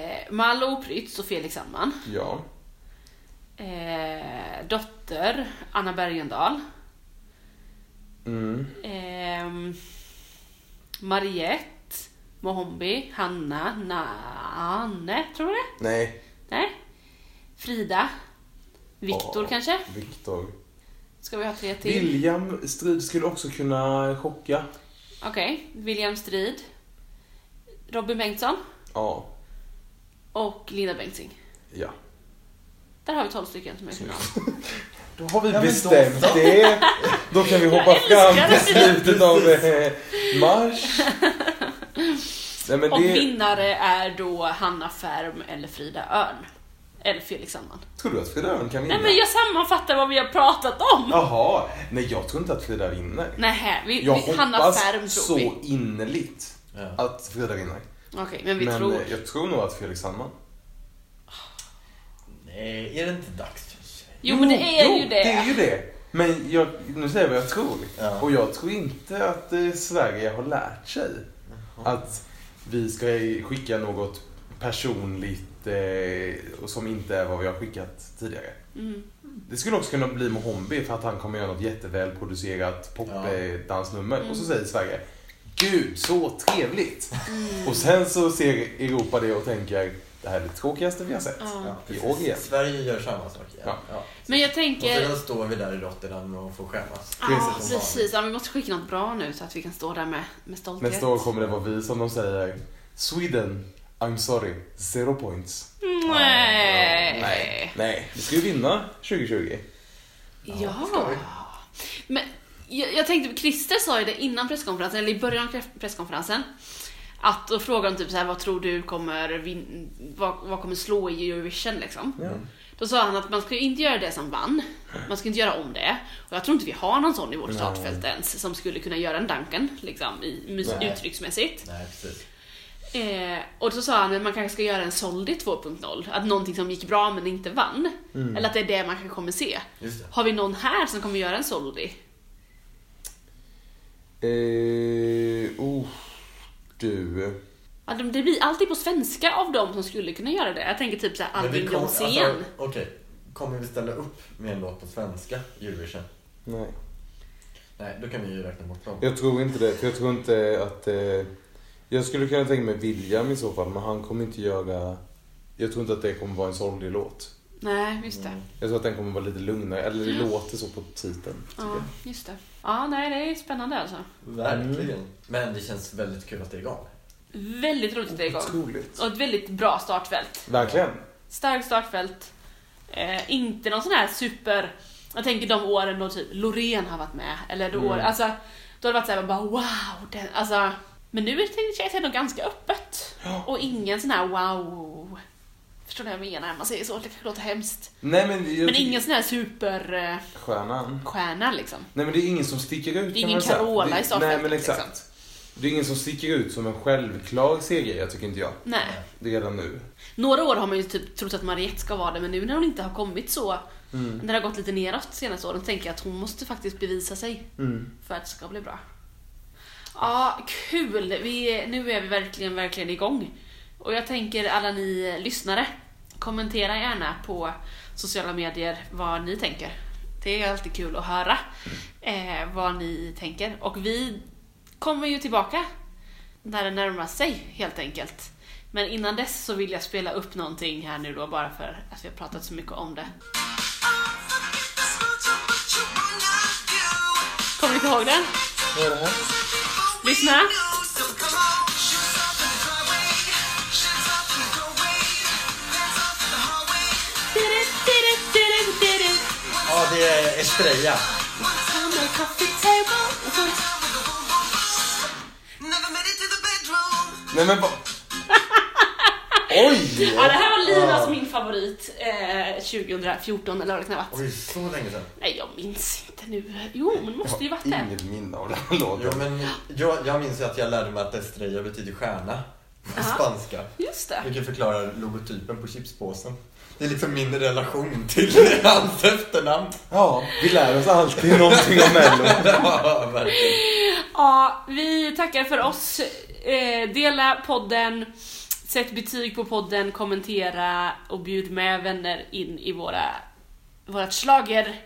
Speaker 2: Eh, Malou Prytz och Felix Sandman.
Speaker 1: Ja.
Speaker 2: Eh, dotter Anna Bergendahl.
Speaker 1: Mm.
Speaker 2: Ehm, Mariette, Mohombi, Hanna, Nanne, tror du det?
Speaker 1: Nej.
Speaker 2: Nej. Frida. Viktor
Speaker 1: Åh,
Speaker 2: kanske?
Speaker 1: Viktor.
Speaker 2: Ska vi ha tre till?
Speaker 1: William Strid skulle också kunna chocka.
Speaker 2: Okej, William Strid. Robin Bengtsson
Speaker 1: Ja.
Speaker 2: och Linda Bengtzing.
Speaker 1: Ja.
Speaker 2: Där har vi tolv stycken som är i final.
Speaker 1: Då har vi
Speaker 3: men
Speaker 1: bestämt det. Då kan vi hoppa fram
Speaker 2: älskar
Speaker 1: till slutet av eh, mars. Nej, men
Speaker 2: Och
Speaker 1: det...
Speaker 2: vinnare är då Hanna Färm eller Frida Örn. Eller Felix Sandman.
Speaker 1: Tror du att Frida Örn kan vinna?
Speaker 2: Nej men jag sammanfattar vad vi har pratat om!
Speaker 1: Jaha. Nej, jag tror inte att Frida vinner.
Speaker 2: Nej, vi,
Speaker 1: Jag
Speaker 2: vi, Hanna
Speaker 1: hoppas
Speaker 2: Färm tror
Speaker 1: så
Speaker 2: vi.
Speaker 1: innerligt
Speaker 3: Ja.
Speaker 1: att Frida vinner.
Speaker 2: Okej, men vi
Speaker 1: men
Speaker 2: tror...
Speaker 1: eh, jag tror nog att Felix Sandman.
Speaker 3: Nej, är det inte dags för sig?
Speaker 2: Jo, men det är
Speaker 1: jo,
Speaker 2: ju det.
Speaker 1: det är ju det. Men jag, nu säger jag vad jag tror.
Speaker 3: Ja.
Speaker 1: Och jag tror inte att eh, Sverige har lärt sig att vi ska skicka något personligt eh, och som inte är vad vi har skickat tidigare.
Speaker 2: Mm.
Speaker 1: Det skulle också kunna bli Mohombi för att han kommer göra något jättevälproducerat
Speaker 3: Ja.
Speaker 1: popdansnummer och så säger Sverige Gud så trevligt! Och sen så ser Europa det och tänker det här är det tråkigaste vi har sett.
Speaker 2: Ja.
Speaker 3: Ja,
Speaker 1: I
Speaker 3: precis.
Speaker 1: år igen.
Speaker 3: Sverige gör samma sak igen.
Speaker 1: Ja.
Speaker 3: Ja.
Speaker 2: Men jag Ah,
Speaker 3: Och
Speaker 2: tänker...
Speaker 3: så står vi där i Rotterdam och får skämmas.
Speaker 2: Ja,
Speaker 3: Precis som vanligt.
Speaker 2: precis. Ja, vi måste skicka något bra nu så att vi kan stå där med, med stolthet.
Speaker 1: Nästa år kommer det vara vi som de säger Sweden, I'm sorry, zero points.
Speaker 2: Mm, Nej.
Speaker 1: Nej, nej. Vi ska ju vinna 2020.
Speaker 2: Ja.
Speaker 3: ska vi.
Speaker 2: Men jag, jag tänkte, Christer sa ju det innan presskonferensen, eller i början av press- presskonferensen. Att då frågade de typ så här, vad tror du kommer, vin- vad, vad kommer slå i Eurovision liksom?
Speaker 1: Ja.
Speaker 2: Då sa han att man ska ju inte göra det som vann, man ska inte göra om det. Och jag tror inte vi har någon sån i vårt
Speaker 1: Nej.
Speaker 2: startfält ens som skulle kunna göra en Duncan liksom, i, mus-
Speaker 3: Nej.
Speaker 2: uttrycksmässigt.
Speaker 3: Nej, precis.
Speaker 2: Eh, och så sa han att man kanske ska göra en Soldi 2.0, att någonting som gick bra men inte vann.
Speaker 1: Mm.
Speaker 2: Eller att det är det man kanske kommer se.
Speaker 3: Just det.
Speaker 2: Har vi någon här som kommer göra en Soldi?
Speaker 1: Eh, oh, du.
Speaker 2: Ja, de- Det blir alltid på svenska av dem som skulle kunna göra det. Jag tänker typ såhär
Speaker 3: Men vi
Speaker 2: Albin
Speaker 3: kom-
Speaker 2: Jonsén.
Speaker 3: alltså, Okej, kommer vi ställa upp med en låt på svenska i Eurovision?
Speaker 1: Nej.
Speaker 3: Nej, då kan vi ju räkna bort dem.
Speaker 1: Jag tror inte det, för jag tror inte att... Eh, jag skulle kunna tänka mig William i så fall, men han kommer inte göra... Jag tror inte att det kommer vara en sorglig låt.
Speaker 2: Nej, just det.
Speaker 3: Mm,
Speaker 1: Jag tror att den kommer vara lite lugnare, eller det låter så på titeln. tycker
Speaker 2: Ja,
Speaker 1: jag.
Speaker 2: just det. Ja, nej, det är spännande alltså.
Speaker 3: Verkligen. Men det känns väldigt kul att det är igång.
Speaker 2: Väldigt roligt att det är igång.
Speaker 1: Otroligt.
Speaker 2: Och ett väldigt bra startfält.
Speaker 1: Verkligen.
Speaker 2: Starkt startfält. Eh, inte någon sån här super... Jag tänker de åren då typ Loreen har varit med. Eller då, år, alltså, då har det varit såhär, man bara wow. Den, alltså, men nu är det känns det ändå ganska öppet. Och ingen sån här wow. Förstår ni vad jag menar? Man säger så, det kanske låter hemskt.
Speaker 1: Nej men... Jag
Speaker 2: Men
Speaker 1: tycker-
Speaker 2: ingen sån här superstjärna
Speaker 1: Stjärnan.
Speaker 2: liksom.
Speaker 1: Nej men det är ingen som sticker ut
Speaker 2: Det är
Speaker 1: kan
Speaker 2: ingen
Speaker 1: man säga.
Speaker 2: Carola
Speaker 1: Det-
Speaker 2: i startfältet,
Speaker 1: Nej men exakt.
Speaker 2: liksom.
Speaker 1: Det är ingen som sticker ut som en självklar seger, jag tycker inte jag.
Speaker 2: Nej.
Speaker 1: Redan nu.
Speaker 2: Några år har man ju typ trott att Mariette ska vara det, men nu när hon inte har kommit så,
Speaker 1: Mm.
Speaker 2: när det har gått lite neråt de senaste åren, så tänker jag att hon måste faktiskt bevisa sig för att det ska bli bra. Ja, kul! Vi, nu är vi verkligen, verkligen igång. Och jag tänker alla ni lyssnare, kommentera gärna på sociala medier vad ni tänker. Det är alltid kul att höra eh, vad ni tänker. Och vi kommer ju tillbaka när det närmar sig helt enkelt. Men innan dess så vill jag spela upp någonting här nu då bara för att vi har pratat så mycket om det. Kommer ni inte ihåg den?
Speaker 1: Vad är det här?
Speaker 2: Lyssna.
Speaker 3: Ja, det är Estrella.
Speaker 1: Nej men vad... Oj!
Speaker 2: Ja, det här var Linas min favorit eh, 2014 eller vad det kan ha varit.
Speaker 3: Oj, så länge sedan.
Speaker 2: Nej, jag minns inte nu. Jo, men det
Speaker 1: Jag
Speaker 2: måste ju
Speaker 1: har
Speaker 2: varit det.
Speaker 1: inget minne av den här
Speaker 3: Jo,
Speaker 1: låten.
Speaker 3: men jag, jag minns ju att jag lärde mig att Estrella betyder stjärna på
Speaker 2: Aha.
Speaker 3: spanska.
Speaker 2: Just det.
Speaker 3: Vilket förklarar logotypen på chipspåsen. Det är liksom min relation till hans efternamn.
Speaker 1: Ja, vi lär oss alltid någonting om Mello.
Speaker 3: Ja, verkligen.
Speaker 2: Ja, vi tackar för oss. Eh, dela podden, sätt betyg på podden, kommentera och bjud med vänner in i våra, vårat slager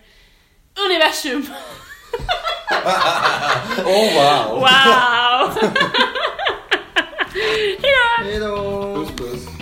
Speaker 2: universum.
Speaker 3: Oh wow!
Speaker 2: Wow! Hejdå!
Speaker 5: Hej då!
Speaker 1: Puss puss.